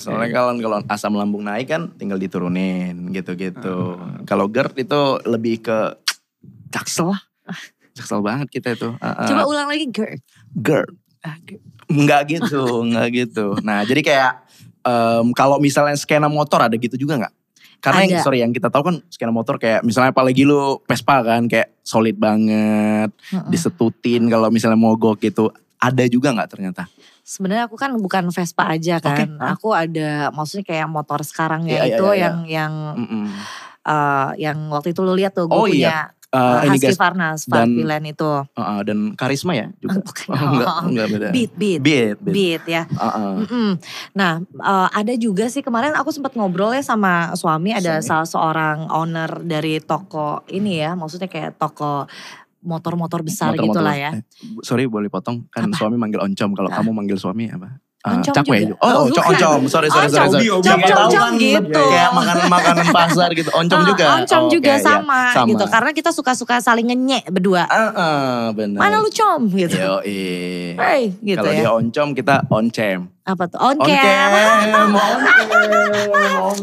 soalnya kalau kalau asam lambung naik kan tinggal diturunin gitu-gitu Ah. kalau GERD itu lebih ke jaksel lah Ah. jaksel banget kita itu Ah, Heeh. Coba ulang lagi GERD. GERD Ah, GERD. Enggak gitu, enggak gitu. Nah, jadi kayak em, kalau misalnya skena motor ada gitu juga enggak? Karena yang Ada. sorry yang kita tahu kan skena motor kayak misalnya apalagi lu Vespa kan kayak solid banget, Mm-mm. disetutin kalau misalnya mogok gitu. Ada juga nggak ternyata? Sebenarnya aku kan bukan Vespa aja kan. Oke, ah. Aku ada maksudnya kayak motor sekarang ya Iya, iya, itu iya, iya. yang yang Mm-mm. eh, yang waktu itu lu lihat tuh gue Oh, punya iya. Eh, eh, ini Husky guys, Farnas, dan- Farpilan itu. eh, dan karisma ya juga. Bukan. Oh, enggak, enggak beda. Beat, beat, Beat, Eh. beat. beat ya. Heeh. Mm-mm. Nah, eh, ada juga sih kemarin aku sempat ngobrol ya sama suami ada Suami. salah seorang owner dari toko ini ya, maksudnya kayak toko motor-motor besar Motor-motor. gitulah ya. Eh, sorry boleh potong kan Apa? suami manggil oncom kalau Ah. kamu manggil suami apa? Eh, Oncom cakwe. juga. Oh, Oh, oncom, bukan. oncom. Sorry, sorry, sorry, Oncom, sorry. Oncom, Yang oncom, tahu oncom kan gitu. Kayak makan makanan pasar gitu. Oncom Ah, juga. Oncom Oh, juga oke, iya. sama, Sama. gitu. Karena kita suka-suka saling ngenyek berdua. Ah, ah, benar. Mana lu com gitu. Yoi. Hey, gitu Iya, Kalau ya. dia oncom kita oncem. Apa tuh? Oke. Oncem,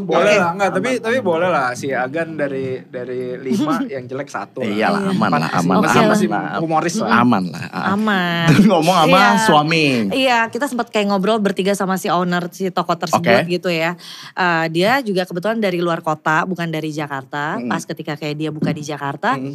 boleh lah enggak tapi tapi boleh lah si Agan dari dari lima yang jelek satu Iya lah, aman lah, aman Oke masih, lah. masih lah. humoris lah Aman lah. ah. Aman. Ngomong sama Iya. suami. Iya, kita sempat kayak ngobrol bertiga sama si owner si toko tersebut gitu ya. Eh, dia juga kebetulan dari luar kota, bukan dari Jakarta. Mm. Pas ketika kayak dia buka di Jakarta, Mm.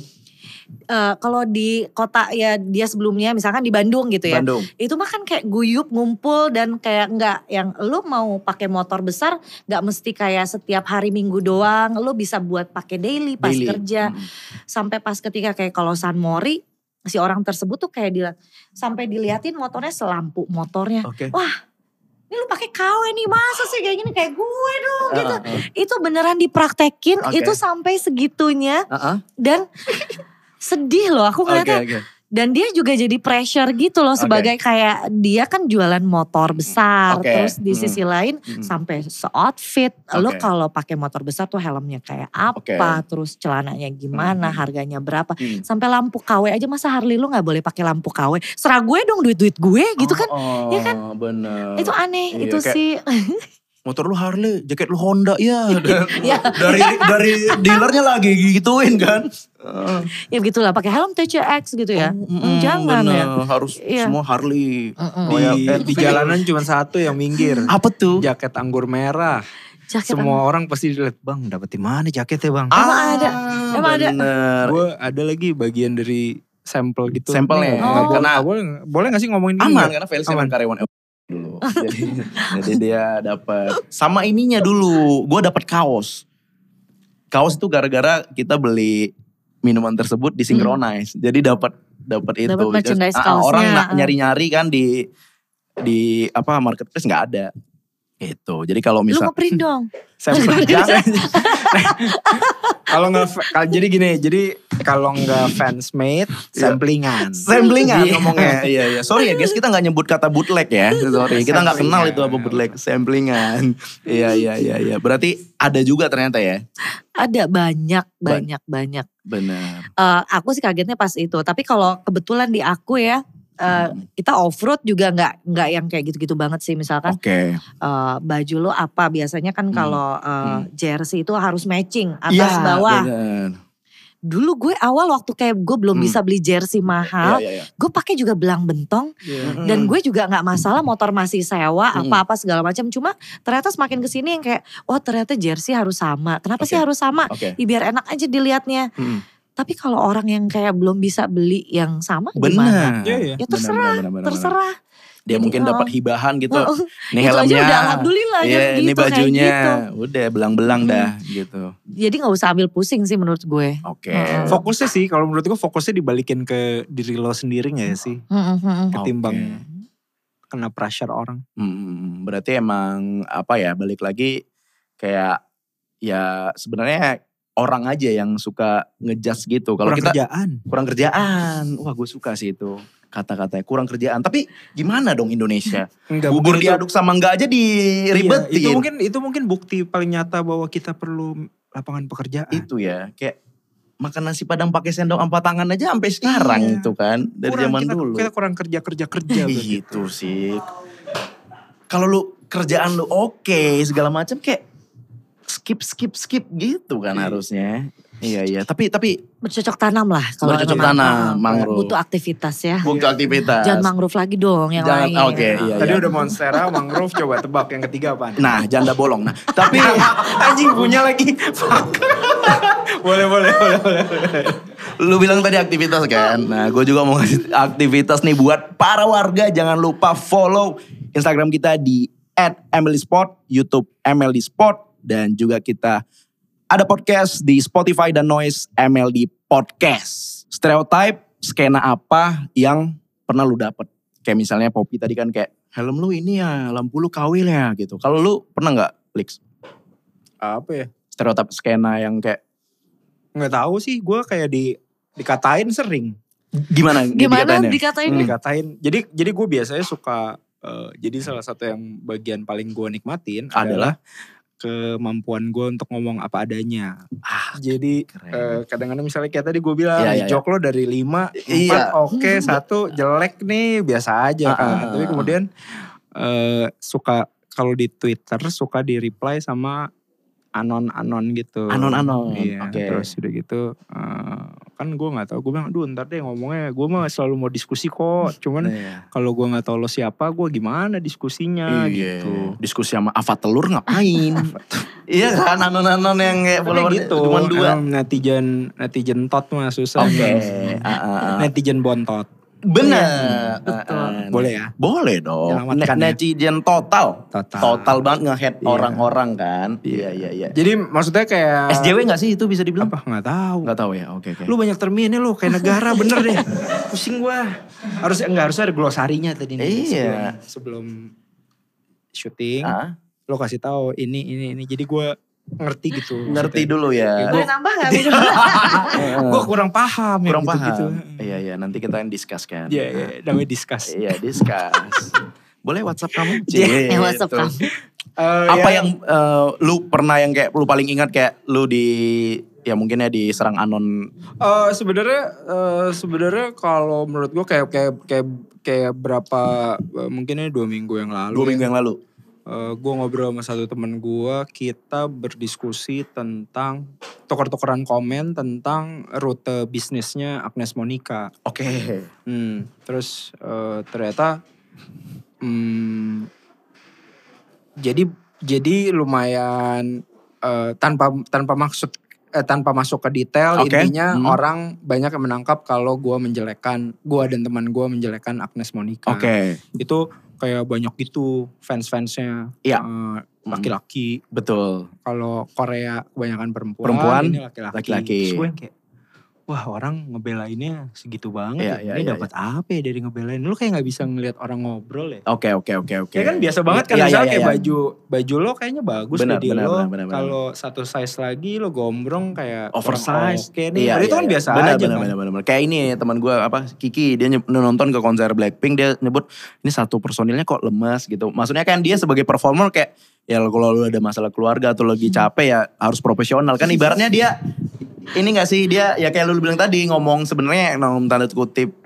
eh, kalau di kota ya dia sebelumnya, misalkan di Bandung gitu ya, Bandung. itu mah kan kayak guyup, ngumpul dan kayak nggak yang lu mau pakai motor besar, nggak mesti kayak setiap hari Minggu doang. Lu bisa buat pakai daily pas Daily. kerja sampai pas ketika kayak kalau San Mori si orang tersebut tuh kayak dilihat sampai diliatin motornya selampu motornya. Oke. Ini lu pakai KW nih masa sih kayak gini kayak gue dong gitu. Ah, ah. Itu beneran dipraktekin Oke. itu sampai segitunya Ah, ah. dan sedih loh aku Oke, ngeliatnya. oke. Dan dia juga jadi pressure gitu loh Oke. sebagai kayak dia kan jualan motor besar Oke. terus di Mm. sisi lain Mm. sampai se-outfit. Lo Oke. kalau pakai motor besar tuh helmnya kayak apa, Oke. terus celananya gimana, Mhm. harganya berapa. Hmm. Sampai lampu KW aja masa Harley lu gak boleh pakai lampu KW. Serah gue dong duit-duit gue gitu kan. Oh, Iya kan? Bener. Itu aneh, Iya, itu kayak- sih. motor lu Harley, jaket lu Honda ya. Iya. dari dari dealernya lagi gituin kan. Eh, ya begitulah pakai helm TCX gitu ya. mm, Jangan bener, ya. harus Iya. semua Harley. Mm-mm. Oh, ya, di, eh, di jalanan cuma satu yang minggir Apa tuh? jaket anggur merah Jaket semua orang pasti dilihat bang dapetin mana jaketnya bang Emang ada? Ah, Emang ada? bener. gue ada lagi bagian dari sampel gitu Sampelnya. Nah. Nggak- nggak Oh. boleh- nggak boleh boleh nggak sih ngomongin ini? Aman Iya, karena Felix Aman. emang karyawan L- dulu. jadi, jadi dia dapat sama ininya dulu. Gue dapat kaos. Kaos itu gara-gara kita beli minuman tersebut di synchronize. Jadi dapat dapat itu. Dapat merchandise Terus, ah, ah, Orang kaosnya. na- nyari-nyari kan di di apa marketplace nggak ada. Gitu. Jadi kalau Lu misal ngeprint dong. Sampel jangan. kalau nggak kalau jadi gini jadi kalau nggak fans made samplingan Iya. Samplingan Iya. ngomongnya. Iya iya. Sorry ya guys, kita nggak nyebut kata bootleg ya. Sorry, kita nggak kenal itu apa bootleg. Samplingan. Iya iya iya iya. Berarti ada juga ternyata ya. Ada banyak, Ba- banyak, banyak. Benar. Eh, aku sih kagetnya pas itu. Tapi kalau kebetulan di aku ya, eh, kita off road juga nggak nggak yang kayak gitu-gitu banget sih misalkan Oke. eh, baju lo apa biasanya kan Oh. Hmm. kalau eh, Hmm. jersey itu harus matching atas Iya, bawah. benar. Dulu gue awal waktu kayak gue belum Hmm. bisa beli jersey Iya mahal, iya iya. gue pakai juga belang bentong Iya. dan gue juga nggak masalah motor masih sewa Hmm. apa-apa segala macam. Cuma ternyata semakin kesini yang kayak wah ternyata jersey harus sama. Kenapa sih Oke. harus sama? Oke. Ya, biar enak aja dilihatnya. Hmm. Tapi kalau orang yang kayak belum bisa beli yang sama gimana? Benar. Iya, iya. Ya Benar, terserah, benar, benar, benar. terserah. Dia Jadi, mungkin oh. dapat hibahan gitu. Oh, Nih itu aja helmnya. udah alhamdulillah Iya, gitu, ini kayak bajunya. gitu. Udah belang-belang Hmm. dah gitu. Jadi nggak usah ambil pusing sih menurut gue. Oke. Hmm. fokusnya sih kalau menurut gue fokusnya dibalikin ke diri lo sendiri nggak sih Heeh, heeh. ketimbang Oke. kena pressure orang Hmm, berarti emang apa ya balik lagi kayak ya sebenarnya orang aja yang suka ngejudge gitu. Kalau Kurang kita kerjaan. kurang kerjaan. Wah, gue suka sih itu kata-katanya kurang kerjaan. Tapi gimana dong Indonesia? Enggak, Bubur mungkin itu- diaduk sama enggak aja gitu Iya, diribetin. itu mungkin itu mungkin bukti paling nyata bahwa kita perlu lapangan pekerjaan. itu ya kayak makan nasi padang pakai sendok empat tangan aja sampai sekarang Iya. itu kan dari Kurang, zaman kita, dulu. Kita kurang kerja kerja kerja. Ih, berarti. gitu sih. Kalau lu kerjaan lu oke segala macam kayak skip skip skip gitu kan harusnya. Iya iya, tapi tapi Bercocok tanam lah kalau Bercocok memang, uh, tanam, mangrove. Butuh aktivitas ya. Iya. waktu aktivitas. Jangan mangrove lagi dong yang Jangan- lain. oke, iya. Tadi udah monstera, mangrove coba tebak yang ketiga apa? Nah, janda bolong. Nah, tapi anjing punya lagi. Fuck. boleh boleh boleh boleh. Lu bilang tadi aktivitas kan? Nah, gue juga mau ngasih aktivitas nih buat para warga. Jangan lupa follow Instagram kita di @mlspot, E YouTube MLD Spot, dan juga kita ada podcast di Spotify dan Noise MLD Podcast. Stereotype skena apa yang pernah lu dapet? Kayak misalnya Poppy tadi kan kayak helm lu ini ya, lampu lu kawil ya gitu. Kalau lu pernah nggak, Lix? Apa ya? Stereotype skena yang kayak Nggak tahu sih, gue kayak di dikatain sering. gimana? gitu Gimana dikatainnya? dikatain? Hmm. Dikatain. Jadi jadi gue biasanya suka. eh, jadi salah satu yang bagian paling gue Iya. nikmatin Adalah? adalah, kemampuan gue untuk ngomong apa adanya. Ah, Jadi keren. eh, kadang-kadang misalnya kayak tadi gue bilang Iya, iya, jok lo dari lima, empat Iya. oke, satu jelek nih biasa aja Ah, kan. ah, Tapi ah. kemudian eh, suka kalau di Twitter suka di reply sama anon-anon gitu. Anon-anon, Iya. oke. Terus udah gitu eh, kan gue nggak tahu. Gue bilang aduh ntar deh ngomongnya. Gue mah selalu mau diskusi kok. Cuman Iya. kalau gue nggak tahu lo siapa, gue gimana diskusinya Iya. gitu. Diskusi sama Ava Telur ngapain? iya kan, anon-anon yang kayak Tapi follower gitu. cuma dua. Emang netizen netizen tot mah susah. Iya. Oke. Emang. gitu. Ah, ah, ah. Netizen bontot. Iya, Benar. Betul. Ah, ah. Boleh ya? Boleh dong. Selamatkan Ne- ya. Netizen total. Total. Total banget ngehead Iya. orang-orang kan. Iya, iya, iya. Jadi maksudnya kayak SJW gak sih itu bisa dibilang? apa nggak tahu. Gak tahu ya, oke oke. Lu banyak terminnya lu kayak negara bener Iya. deh. Pusing gua. Harus enggak harusnya ada glosarinya tadi nih. Iya. Sebelum, sebelum syuting Ah, lu kasih tahu ini ini ini. Jadi gua ngerti gitu. ngerti dulu ya. Boleh nambah gak? Gue kurang paham Kurang ya, gitu-gitu. paham. Iya, iya, nanti kita yang discuss kan. Iya, iya, namanya discuss. Iya, discuss. Boleh WhatsApp kamu? Iya, WhatsApp Gitu. kamu. Eh, apa ya, yang eh, lu pernah yang kayak lu paling ingat kayak lu di ya mungkin ya diserang anon Eh sebenarnya eh, sebenarnya kalau menurut gua kayak kayak kayak kayak berapa eh, mungkin ini dua minggu yang lalu dua ya. minggu yang lalu Eh, gue ngobrol sama satu temen gue, kita berdiskusi tentang tuker-tukeran komen tentang rute bisnisnya Agnes Monica. oke Hmm, terus eh, ternyata, hmm, jadi jadi lumayan eh, tanpa tanpa maksud eh, tanpa masuk ke detail Oke, intinya hmm. orang banyak yang menangkap kalau gue menjelekkan gue dan teman gue menjelekkan Agnes Monica. oke Itu kayak banyak gitu fans-fansnya. Iya. Eh, laki-laki betul kalau Korea kebanyakan perempuan Perempuan, ini laki-laki laki-laki. Terus gue yang kayak wah orang ngebelainnya segitu banget Iya, ya. iya, ini iya, dapat apa ya dari ngebelain lu kayak nggak bisa ngelihat orang ngobrol ya oke oke oke oke Ya kan biasa banget kan Iya, misalnya iya, kayak iya. baju baju lo kayaknya bagus Benar, deh di benar, lo. benar, benar, benar. Kalau satu size lagi lo gombrong kayak kurang oversize Iya, Oke nih. Padahal itu kan biasa benar, benar, aja kan. benar, benar, benar. kayak ini teman gue apa Kiki dia nyeb- nonton ke konser Blackpink dia nyebut ini satu personilnya kok lemes gitu maksudnya kan dia sebagai performer kayak ya kalau lu ada masalah keluarga atau Hmm. lagi capek ya harus profesional kan ibaratnya dia ini gak sih dia ya kayak lu bilang tadi ngomong sebenarnya ngomong tanda kutip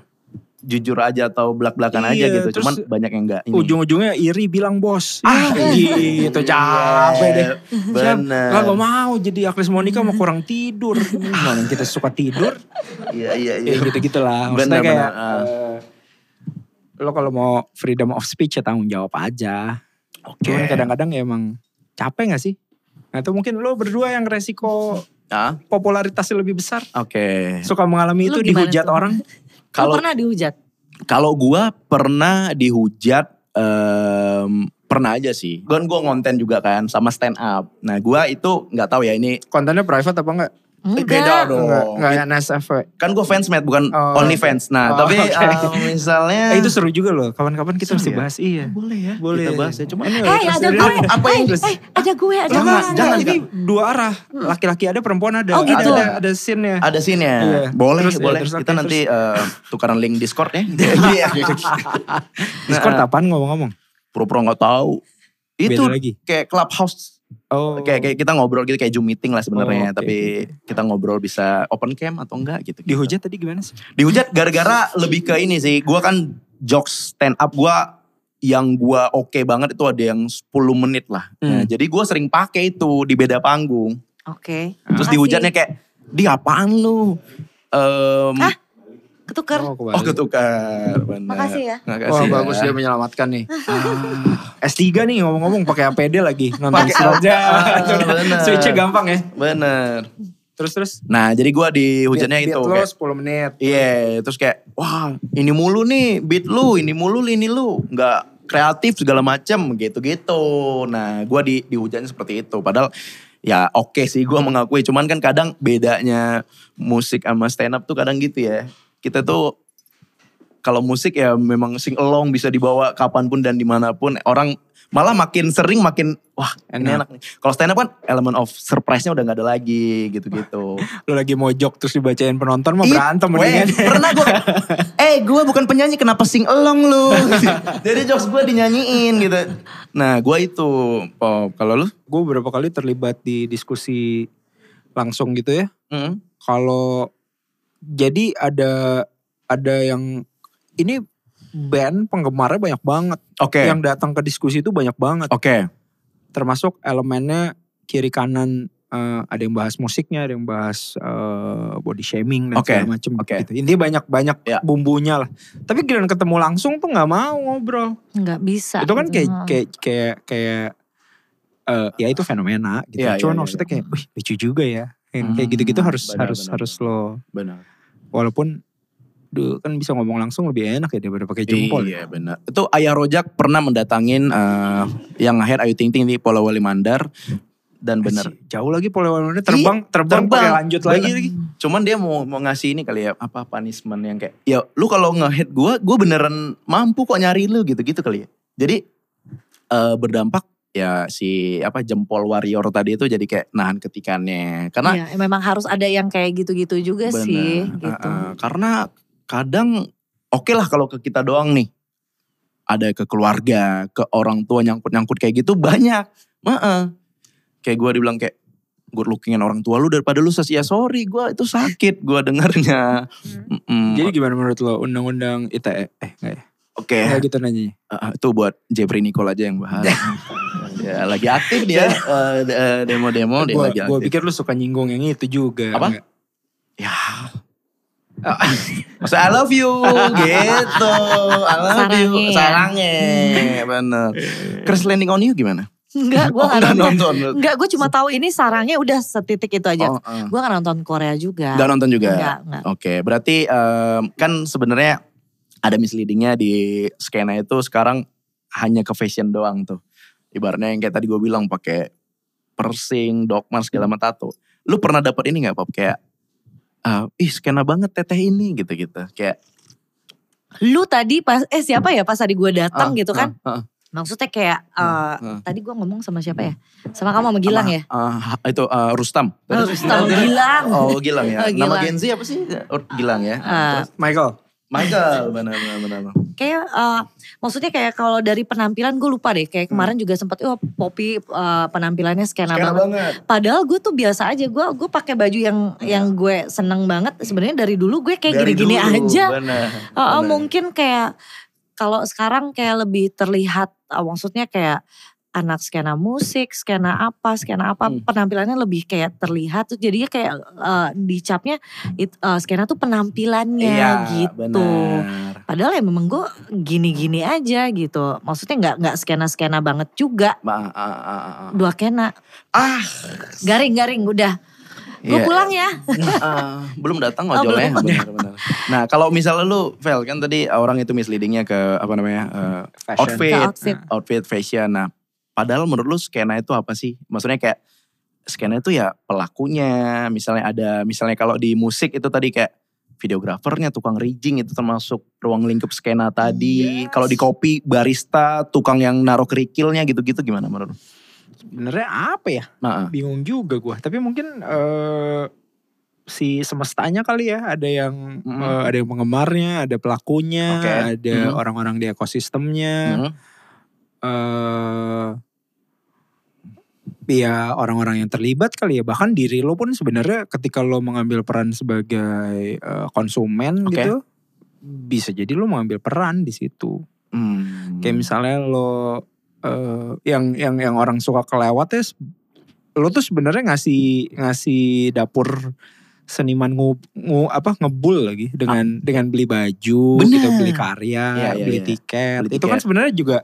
jujur aja atau belak-belakan aja Iya, gitu terus cuman banyak yang enggak ini. Iya, Ujung-ujungnya iri bilang bos. Ah gitu capek deh. Siap, Bener. Kagak mau jadi Agnes Monica mau kurang tidur. Mana yang kita suka tidur. Iya iya iya. Ya gitu-gitulah. Benar, Maksudnya Ah. kayak. benar, eh, lo kalau mau freedom of speech ya tanggung jawab aja. Oke. Cuman kadang-kadang ya emang capek gak sih? Nah itu mungkin lo berdua yang resiko Ah, popularitasnya lebih besar. Oke. Suka mengalami Lu itu gimana dihujat tuh? orang. Kalau Kalau- pernah dihujat? Kalau gua pernah dihujat em, pernah aja sih. Kan gua ngonten juga kan sama stand up. Nah, gua itu nggak tahu ya ini Kontennya private apa enggak? Beda dong. Enggak, enggak NSF. Iya. Kan gue fans Matt, bukan Oh, only fans. Nah, Oh, tapi oke. eh, misalnya Eh, itu seru juga loh. Kapan-kapan kita mesti bahas. Iya. boleh ya. Boleh. Kita bahas ya. Cuma ini Hei ada gue, apa, apa yang eh, eh, ada gue, ada Jangan, gue. jangan, ini dua arah. Laki-laki ada, perempuan ada. Iya. Oh, gitu. Ada, ada scene-nya. ada scene ya? Iya. Boleh, Terus, iya, boleh. terus, kita oke, nanti eh, tukaran link Discord ya. Iya. Discord Nah, apaan ngomong-ngomong? Pura-pura nggak tahu. Itu Beda lagi. kayak clubhouse Oh. kayak kayak kita ngobrol gitu kayak Zoom meeting lah sebenarnya, Oh, oke, tapi kita ngobrol bisa open cam atau enggak gitu. dihujat tadi gimana sih? Dihujat gara-gara lebih ke ini sih. Gua kan jokes stand up gua yang gua oke banget itu ada yang 10 menit lah. Nah, Hmm. jadi gua sering pakai itu di beda panggung. Oke. Ah, Terus Makasih. dihujatnya kayak, "Di apaan lu?" Em, Ah, Ketuker. oh ketukar. Bener. Makasih ya. Makasih. Wah ya. Oh, bagus dia menyelamatkan nih. S3 nih ngomong-ngomong pakai APD lagi nonton Ah. Pakai- saja. Ah, bener. Switchnya gampang ya. Bener. Terus terus. Nah, jadi gua dihujatnya Beat- itu beat kayak, lo 10 menit. Iya, terus kayak wah ini mulu nih beat lu, ini mulu ini lu, nggak kreatif segala macem gitu-gitu. Nah, gua di dihujan seperti itu. Padahal ya oke sih gua mengakui, cuman kan kadang bedanya musik sama stand up tuh kadang gitu ya. Kita tuh kalau musik ya memang sing along bisa dibawa kapanpun dan dimanapun orang malah makin sering makin wah ini enak Enak. nih. Kalau stand up kan element of surprise-nya udah nggak ada lagi gitu-gitu. Lo lagi mojok terus dibacain penonton mau Ih, berantem weh, mendingan. Pernah gue, eh gue bukan penyanyi kenapa sing along lu? Jadi jokes gue dinyanyiin gitu. Nah gue itu, oh, kalau lu? Gue beberapa kali terlibat di diskusi langsung gitu ya. Hmm. Kalau jadi ada ada yang ini band penggemarnya banyak banget. Oke, Yang datang ke diskusi itu banyak banget. oke. termasuk elemennya kiri kanan eh, ada yang bahas musiknya, ada yang bahas eh, body shaming dan Oke, segala macam oke. gitu. Intinya banyak banyak Ya. bumbunya lah. Tapi giliran ketemu langsung tuh nggak mau ngobrol. Enggak bisa. itu kan kayak Hmm. kayak kayak kayak eh, ya itu fenomena gitu. Iya, Cuman iya, iya, maksudnya iya. kayak wih lucu juga ya. Yang kayak Hmm, gitu-gitu harus benar, harus benar, harus lo Benar. walaupun duh, kan bisa ngomong langsung lebih enak ya daripada pakai jempol. Iya benar. Itu Ayah Rojak pernah mendatangin eh, yang akhir Ayu Ting Ting di Pulau Walimandar dan benar. Iya, Bener. ya. Jauh lagi polewalnya terbang, terbang. terbang, pakai lanjut lagi. lagi. Cuman dia mau mau ngasih ini kali ya apa punishment yang kayak ya lu kalau nge-hit gue, gue beneran mampu kok nyari lu gitu-gitu kali ya. Jadi eh, berdampak ya si apa jempol warrior tadi itu jadi kayak nahan ketikannya karena Iya, memang harus ada yang kayak gitu-gitu juga bener, sih. eh, Gitu. eh, karena kadang oke lah kalau ke kita doang nih ada ke keluarga ke orang tua nyangkut-nyangkut kayak gitu banyak Heeh. kayak gue dibilang kayak good lookingin orang tua lu daripada lu ses ya sorry gue itu sakit gue dengarnya Hmm. Mm-mm. Jadi gimana menurut lo undang-undang ITE? Eh enggak ya? oke Enggak gitu nanyanya. Eh, itu buat Jeffrey Nicole aja yang bahas ya, lagi aktif dia eh, eh, demo-demo dia Iya. Gua, lagi gua aktif pikir lu suka nyinggung yang itu juga. Apa? Enggak. ya Maksudnya I love you gitu. I love you. Sarangnya ya. Sarangnya. Bener. Crash Landing on You gimana? Enggak, gue Oh, gak nggak nonton. nonton. Enggak, gue cuma tahu ini sarangnya udah setitik itu aja. Oh, eh. Gue gak nonton Korea juga. Nggak nonton juga? Enggak, enggak. Oke, berarti em, kan sebenarnya ada misleadingnya di skena itu sekarang hanya ke fashion doang tuh. Ibaratnya yang kayak tadi gue bilang pakai piercing, dogma segala macam tato. Lu pernah dapet ini nggak, Pop? Kayak eh, ih skena banget teteh ini gitu-gitu. Kayak Lu tadi pas, eh siapa ya pas tadi gue datang ah, gitu kan. ah, Maksudnya kayak, eh, ah. tadi gue ngomong sama siapa ya? Sama kamu sama Gilang ya? ah, ah, itu eh, Rustam. Oh, Sama Gilang. Oh Gilang ya. Oh, Nama Gilang. Gen Z apa sih? Or- Gilang ya. Eh, Michael, Michael benar-benar benar. kayak eh, maksudnya kayak kalau dari penampilan gue lupa deh kayak kemarin juga sempat oh Poppy eh, penampilannya skena Keren banget. banget. Padahal gue tuh biasa aja gue gue pakai baju yang yang gue seneng banget sebenarnya dari dulu gue kayak Dari gini-gini dulu, aja. Benar. Oh, oh, benar. mungkin kayak kalau sekarang kayak lebih terlihat eh, maksudnya kayak anak skena musik, skena apa, skena apa penampilannya lebih kayak terlihat tuh jadinya kayak eh, dicapnya it- eh, skena tuh penampilannya gitu. Iya, benar. Padahal ya memang gue gini-gini aja gitu. Maksudnya nggak nggak skena-skena banget juga. Ma, ah, ah, ah, ah. Dua kena. Ah. Garing-garing udah. Gue Iya. pulang ya. Ah, belum datang Oh, ojolnya. belum. benar, benar. Nah kalau misalnya lu, Vel kan tadi orang itu misleadingnya ke apa namanya eh, fashion. Ke outfit, outfit. outfit fashion. Nah padahal menurut lu skena itu apa sih? Maksudnya kayak scan-nya tuh ya pelakunya, misalnya ada misalnya kalau di musik itu tadi kayak videografernya, tukang rigging itu termasuk ruang lingkup skena tadi. Kalau di kopi barista, tukang yang naruh kerikilnya gitu-gitu gimana menurut? lu? Sebenarnya apa ya? Nah, Bingung juga gua. Tapi mungkin eh, si semestanya kali ya. Ada yang Mm. eh, ada yang penggemarnya, ada pelakunya, Oke. ada Mm. orang-orang di ekosistemnya. hmm. eh, ya orang-orang yang terlibat kali ya. Bahkan diri lo pun sebenarnya ketika lo mengambil peran sebagai eh, konsumen Oke. gitu, bisa jadi lo mengambil peran di situ. Hmm. Kayak misalnya lo eh, yang yang yang orang suka kelewat ya, se- lo tuh sebenarnya ngasih ngasih dapur seniman ngu, ngu- apa ngebul lagi dengan dengan beli baju, Ah. Bener. gitu, beli karya, Iya, iya, beli, iya. tiket. Beli Itu kan tiket. sebenarnya juga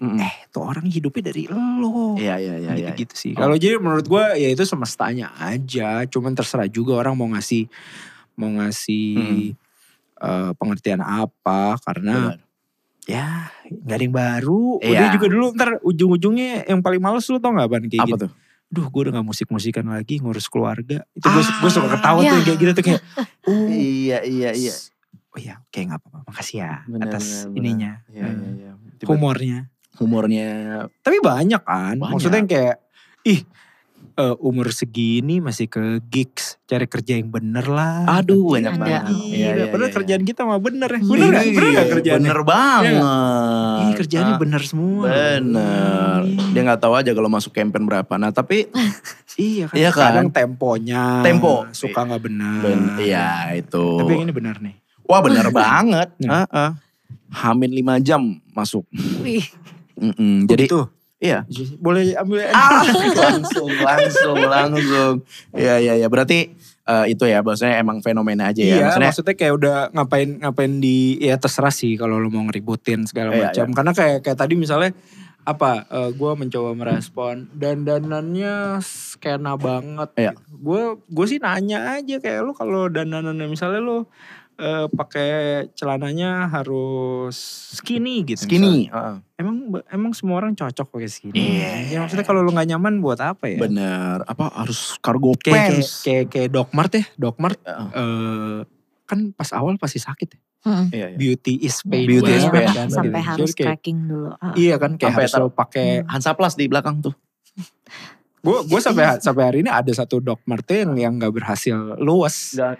Mm-mm. eh tuh orang hidupnya dari lo. Hmm. Iya iya iya iya. gitu sih. Oh. Kalau jadi menurut gua ya itu semestanya aja, cuman terserah juga orang mau ngasih mau ngasih Hmm. eh, pengertian apa karena Benar. ya nggak ada yang baru. Udah Iya. juga dulu ntar ujung-ujungnya yang paling males lu tau gak Ban? Kayak Apa gini. tuh? Duh gue udah gak musik-musikan lagi ngurus keluarga. Itu gue Ah, gue suka ketawa tuh iya. yang kayak gitu tuh kayak. "Oh, Iya iya iya. Oh iya oke gak apa-apa makasih ya Benar, atas benar, ininya. Iya iya iya. Tiba- Humornya. Humornya Tapi banyak kan. Banyak. Maksudnya yang kayak ih eh, umur segini masih ke gigs cari kerja yang bener lah. aduh Ada. banyak banget. Gila, Iya, iya, padahal iya. kerjaan kita mah bener ya. Iya. Bener gak? Bener Iya, gak kerjaannya? Iya Bener banget. Ih kerjaannya Ah. bener semua. Bener. Dia nggak tahu aja kalau masuk campaign berapa. Nah tapi Iya kan. Iya kan? Kadang temponya. Tempo. Suka nggak benar. ben- iya itu. Tapi yang ini benar nih. Wah bener banget. Nah. Heeh. Hamin 5 jam masuk. Wih, Mm-mm. Jadi tuh iya. boleh ambil. Ah, langsung langsung langsung. Iya iya iya. Berarti eh, itu ya bahasanya emang fenomena aja ya. iya, maksudnya, maksudnya kayak udah ngapain ngapain di ya terserah sih kalau lo mau ngeributin segala Iya, macam. Karena kayak kayak tadi misalnya apa? eh, gua mencoba merespon dan danannya skena banget. Iya. gitu. Gua gue sih nanya aja kayak lo kalau dananannya misalnya lo eh, pakai celananya harus skinny gitu. misalnya. skinny. Ah, Heeh. Emang emang semua orang cocok pakai skinny. Iya. Ya maksudnya kalau lo nggak nyaman buat apa ya? Bener. Apa harus cargo Kayak pants? kayak kayak Doc Mart ya, Doc Mart Heeh. eh, kan pas awal pasti sakit ya. Mm-mm. Iya iya. Beauty is pain. Beauty Iya, is pain. kan? sampai Jadi harus kayak- tracking dulu. Ah. Iya kan kayak Sampai harus lo pakai. Hansa Plus di belakang tuh. Gue gue sampai sampai hari ini ada satu Doc Martin yang nggak berhasil Iya. luas.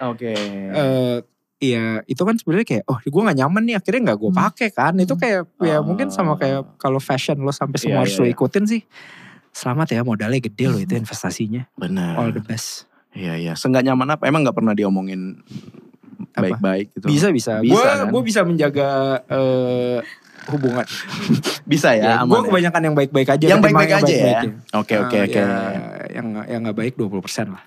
Oke. Eh, Iya, itu kan sebenarnya kayak, oh, gue gak nyaman nih. Akhirnya gak gue Hmm. pakai kan. Itu kayak, Ah. ya mungkin sama kayak kalau fashion lo sampai Iya, semua harus iya, lo iya. ikutin sih. Selamat ya, modalnya gede lo itu investasinya. Bener. All the best. Iya iya, seenggak nyaman apa? Emang nggak pernah diomongin Apa? baik-baik gitu. Bisa bisa. Bisa, Gue kan? gue bisa menjaga eh, hubungan. bisa ya. aman gue ya? kebanyakan yang baik-baik aja. Yang ketimbang baik-baik aja ya. baik-baik Oke oke Eh, oke. Ah, ya, Yang nggak- yang nggak baik 20% lah.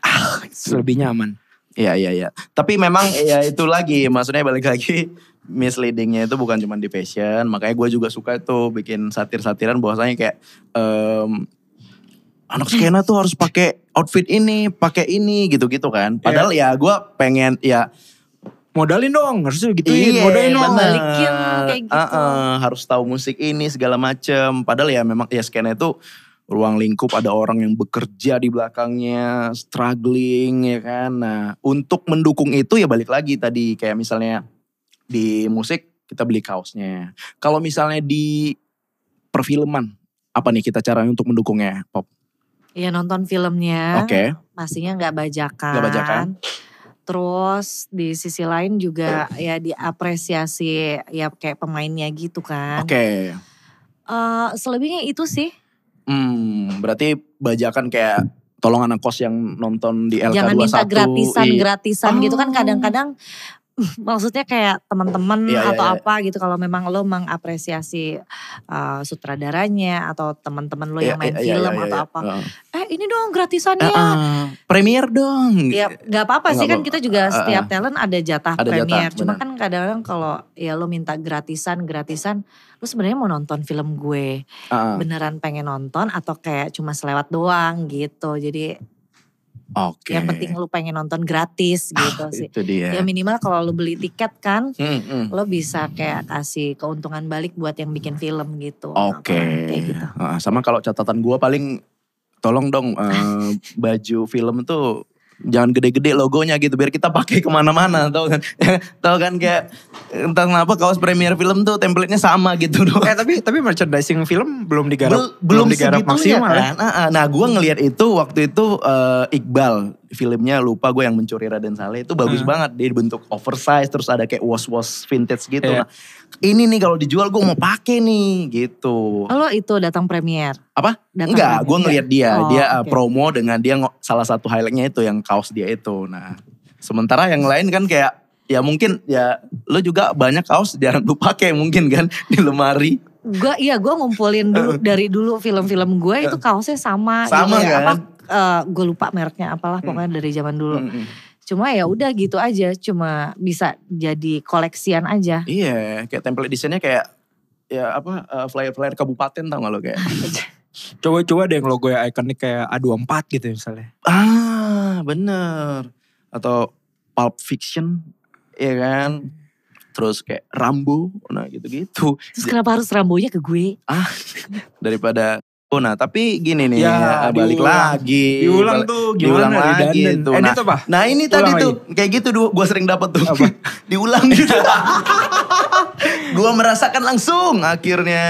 Selebihnya aman. Iya iya iya. Tapi memang ya itu lagi, maksudnya balik lagi misleadingnya itu bukan cuma di fashion, makanya gue juga suka tuh bikin satir-satiran bahwasanya kayak em, anak skena tuh harus pakai outfit ini, pakai ini gitu-gitu kan. Padahal ya Iya. gue pengen ya Modalin dong, harusnya Iya, gituin, modalin dong. bener. balikin kayak gitu. Uh-uh, harus tahu musik ini segala macem. Padahal ya memang ya skena itu ruang lingkup ada orang yang bekerja di belakangnya, struggling ya kan. Nah, untuk mendukung itu ya balik lagi tadi kayak misalnya di musik kita beli kaosnya. Kalau misalnya di perfilman apa nih kita caranya untuk mendukungnya pop? Iya nonton filmnya, Oke, pastinya nggak bajakan. Nggak bajakan. Terus di sisi lain juga ya diapresiasi ya kayak pemainnya gitu kan. oke. Eh, selebihnya itu sih Hmm, berarti bajakan kayak tolong anak kos yang nonton di LK21. jangan minta gratisan Iya. gratisan gitu kan Oh. kadang-kadang maksudnya kayak teman-teman Iya, iya, atau iya. apa gitu kalau memang lo mengapresiasi eh, sutradaranya atau teman-teman lo yang Iya, main iya, iya, film iya, atau iya. apa Heeh. eh ini dong gratisannya Heeh. Premier dong. Ya nggak apa-apa sih Nggak kan apa- kita juga ah, setiap ah. talent ada jatah Ada jatah, premier. Cuma benar. kan kadang-kadang kalau ya lo minta gratisan gratisan, lo sebenarnya mau nonton film gue Heeh. beneran pengen nonton atau kayak cuma selewat doang gitu. Jadi Oke. Ah, yang penting lo pengen nonton gratis gitu sih. Itu Ya dia. minimal kalau lo beli tiket kan, Hmm, hmm. lo bisa kayak kasih keuntungan balik buat yang bikin film gitu. Oke. Kayak gitu. Heeh, Sama kalau catatan gua paling tolong dong eh, baju film tuh jangan gede-gede logonya gitu biar kita pakai kemana-mana tau kan tau kan kayak entah kenapa kaos premier film tuh template-nya sama gitu doang Eh tapi tapi merchandising film belum digarap Bel- belum, digarap segitunya maksimal. ya. kan. Ah, ah. Nah, gue ngelihat itu waktu itu eh, Iqbal filmnya lupa gue yang mencuri Raden Saleh itu Hmm. bagus banget dia dibentuk oversize terus ada kayak wash wash vintage gitu. Nah, Iya. ini nih kalau dijual gue mau pakai nih gitu. Lo itu datang premier. Apa? Oh, Datang Enggak, lagi. gue ngelihat dia Oh, dia eh, oke. promo dengan dia ngo- salah satu highlightnya itu yang kaos dia itu. Nah, sementara yang lain kan kayak ya mungkin ya lo juga banyak kaos jarang lu pakai mungkin kan di lemari. Gue iya gue ngumpulin dulu dari dulu film-film gue itu kaosnya sama. Sama gitu ya. kan? Hmm. Apa, gue lupa mereknya apalah pokoknya dari zaman dulu. Hmm. Mm-mm. Cuma ya udah gitu aja. Cuma bisa jadi koleksian aja. Iya, kayak template desainnya kayak ya apa eh, flyer-flyer kabupaten tau gak lo kayak. Coba-coba ada yang logo yang ikonik kayak A24 gitu misalnya. ah, bener. Atau Pulp Fiction, ya kan. Terus kayak Rambo, nah gitu-gitu. Terus kenapa harus rambonya ke gue? Daripada Oh, nah tapi gini nih, ya, Ya, balik diulang. lagi. Diulang Balik- tuh Iya, diulang gimana lagi redundant. tuh. Edit apa? Nah ini Ulang tadi lagi. tuh kayak gitu gue sering dapat tuh. Apa? Diulang gitu. gue merasakan langsung akhirnya.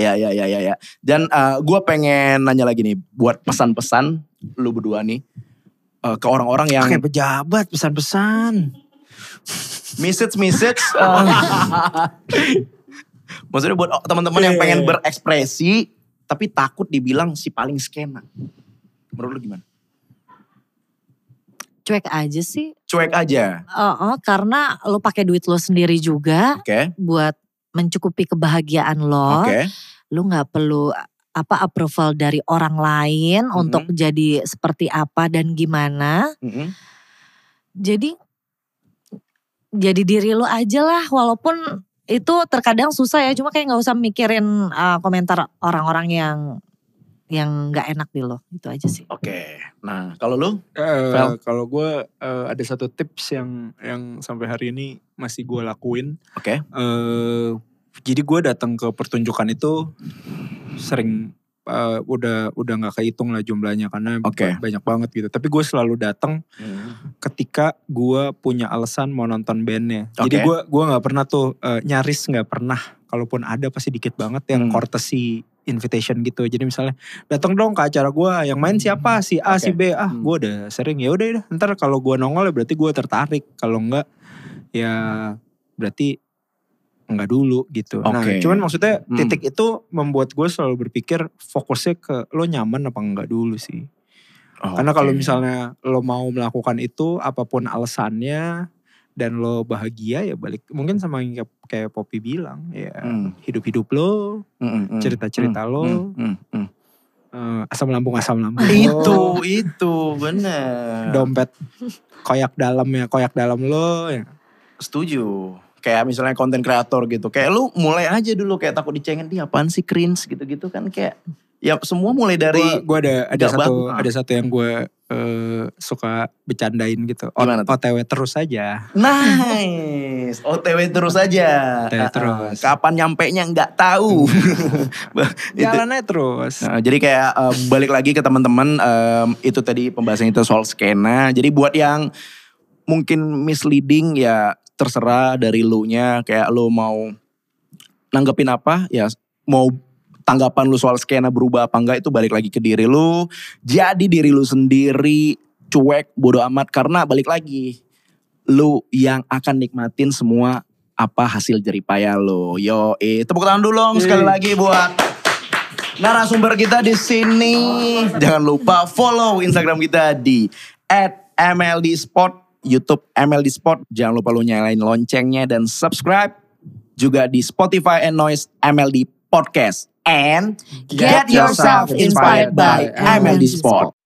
Ya ya ya ya ya. Dan gue pengen nanya lagi nih buat pesan-pesan lu berdua nih eh, ke orang-orang yang Kayak pejabat pesan-pesan. message message. Oh. Maksudnya buat teman-teman Iya, yang pengen berekspresi tapi takut dibilang si paling skena. Menurut lu gimana? Cuek aja sih. Cuek aja. Oh, oh, karena lo pakai duit lo sendiri juga Oke. buat mencukupi kebahagiaan lo. Oke. Lo nggak perlu apa approval dari orang lain Mhm. untuk jadi seperti apa dan gimana. Mm-mm. Jadi jadi diri lo aja lah walaupun itu terkadang susah ya cuma kayak nggak usah mikirin uh, komentar orang-orang yang yang nggak enak di lo itu aja sih. Oke. Nah, kalau lu? Eh, Vel. kalau gue eh, ada satu tips yang yang sampai hari ini masih gue lakuin. Oke. Eh, jadi gue datang ke pertunjukan itu sering eh, udah udah nggak kehitung lah jumlahnya karena Oke. ba- banyak banget gitu. Tapi gue selalu datang Hmm. ketika gue punya alasan mau nonton bandnya. Jadi Oke. gue gua nggak pernah tuh eh, nyaris nggak pernah. Kalaupun ada pasti dikit banget yang Hmm. courtesy invitation gitu. Jadi misalnya datang dong ke acara gue yang main siapa si A si Oke. B ah Hmm. gue udah sering ya udah udah. ntar kalau gue nongol ya berarti gue tertarik kalau enggak ya berarti enggak dulu gitu. Nah, Oke. cuman maksudnya Hmm. titik itu membuat gue selalu berpikir fokusnya ke lo nyaman apa enggak dulu sih. Karena kalau misalnya lo mau melakukan itu apapun alasannya dan lo bahagia ya balik mungkin sama yang kayak, kayak Poppy bilang Hmm. ya hidup-hidup lo, cerita-cerita lo, eh, asam lambung asam lambung. lo, hmm, Itu, itu, bener. dompet koyak dalam ya koyak dalam lo ya. Setuju. Kayak misalnya konten kreator gitu. Kayak lu mulai aja dulu kayak takut dicengin dia apaan sih cringe gitu-gitu kan kayak ya semua mulai dari Gua- gua ada ada Gak satu bagus. ada satu yang gue suka bercandain gitu. O- Gimana tuh? OTW terus aja. nice. OTW terus aja. OTW terus. Kapan nyampe nya nggak tahu. Itu- Jalan aja terus. Nah, jadi kayak eh, balik lagi ke teman-teman em, itu tadi pembahasan itu soal skena. Jadi buat yang mungkin misleading ya terserah dari lu nya kayak lu mau nanggepin apa ya mau tanggapan lu soal skena berubah apa enggak itu balik lagi ke diri lu. Jadi diri lu sendiri cuek bodoh amat karena balik lagi lu yang akan nikmatin semua apa hasil jeripaya lo. Yo, eh tepuk tangan dulu dong sekali lagi buat narasumber kita di sini. Jangan lupa follow Instagram kita di @mldspot, YouTube MLD Spot. Jangan lupa lu nyalain loncengnya dan subscribe juga di Spotify and Noise MLD Podcast. And Get yourself inspired by MLD Spot.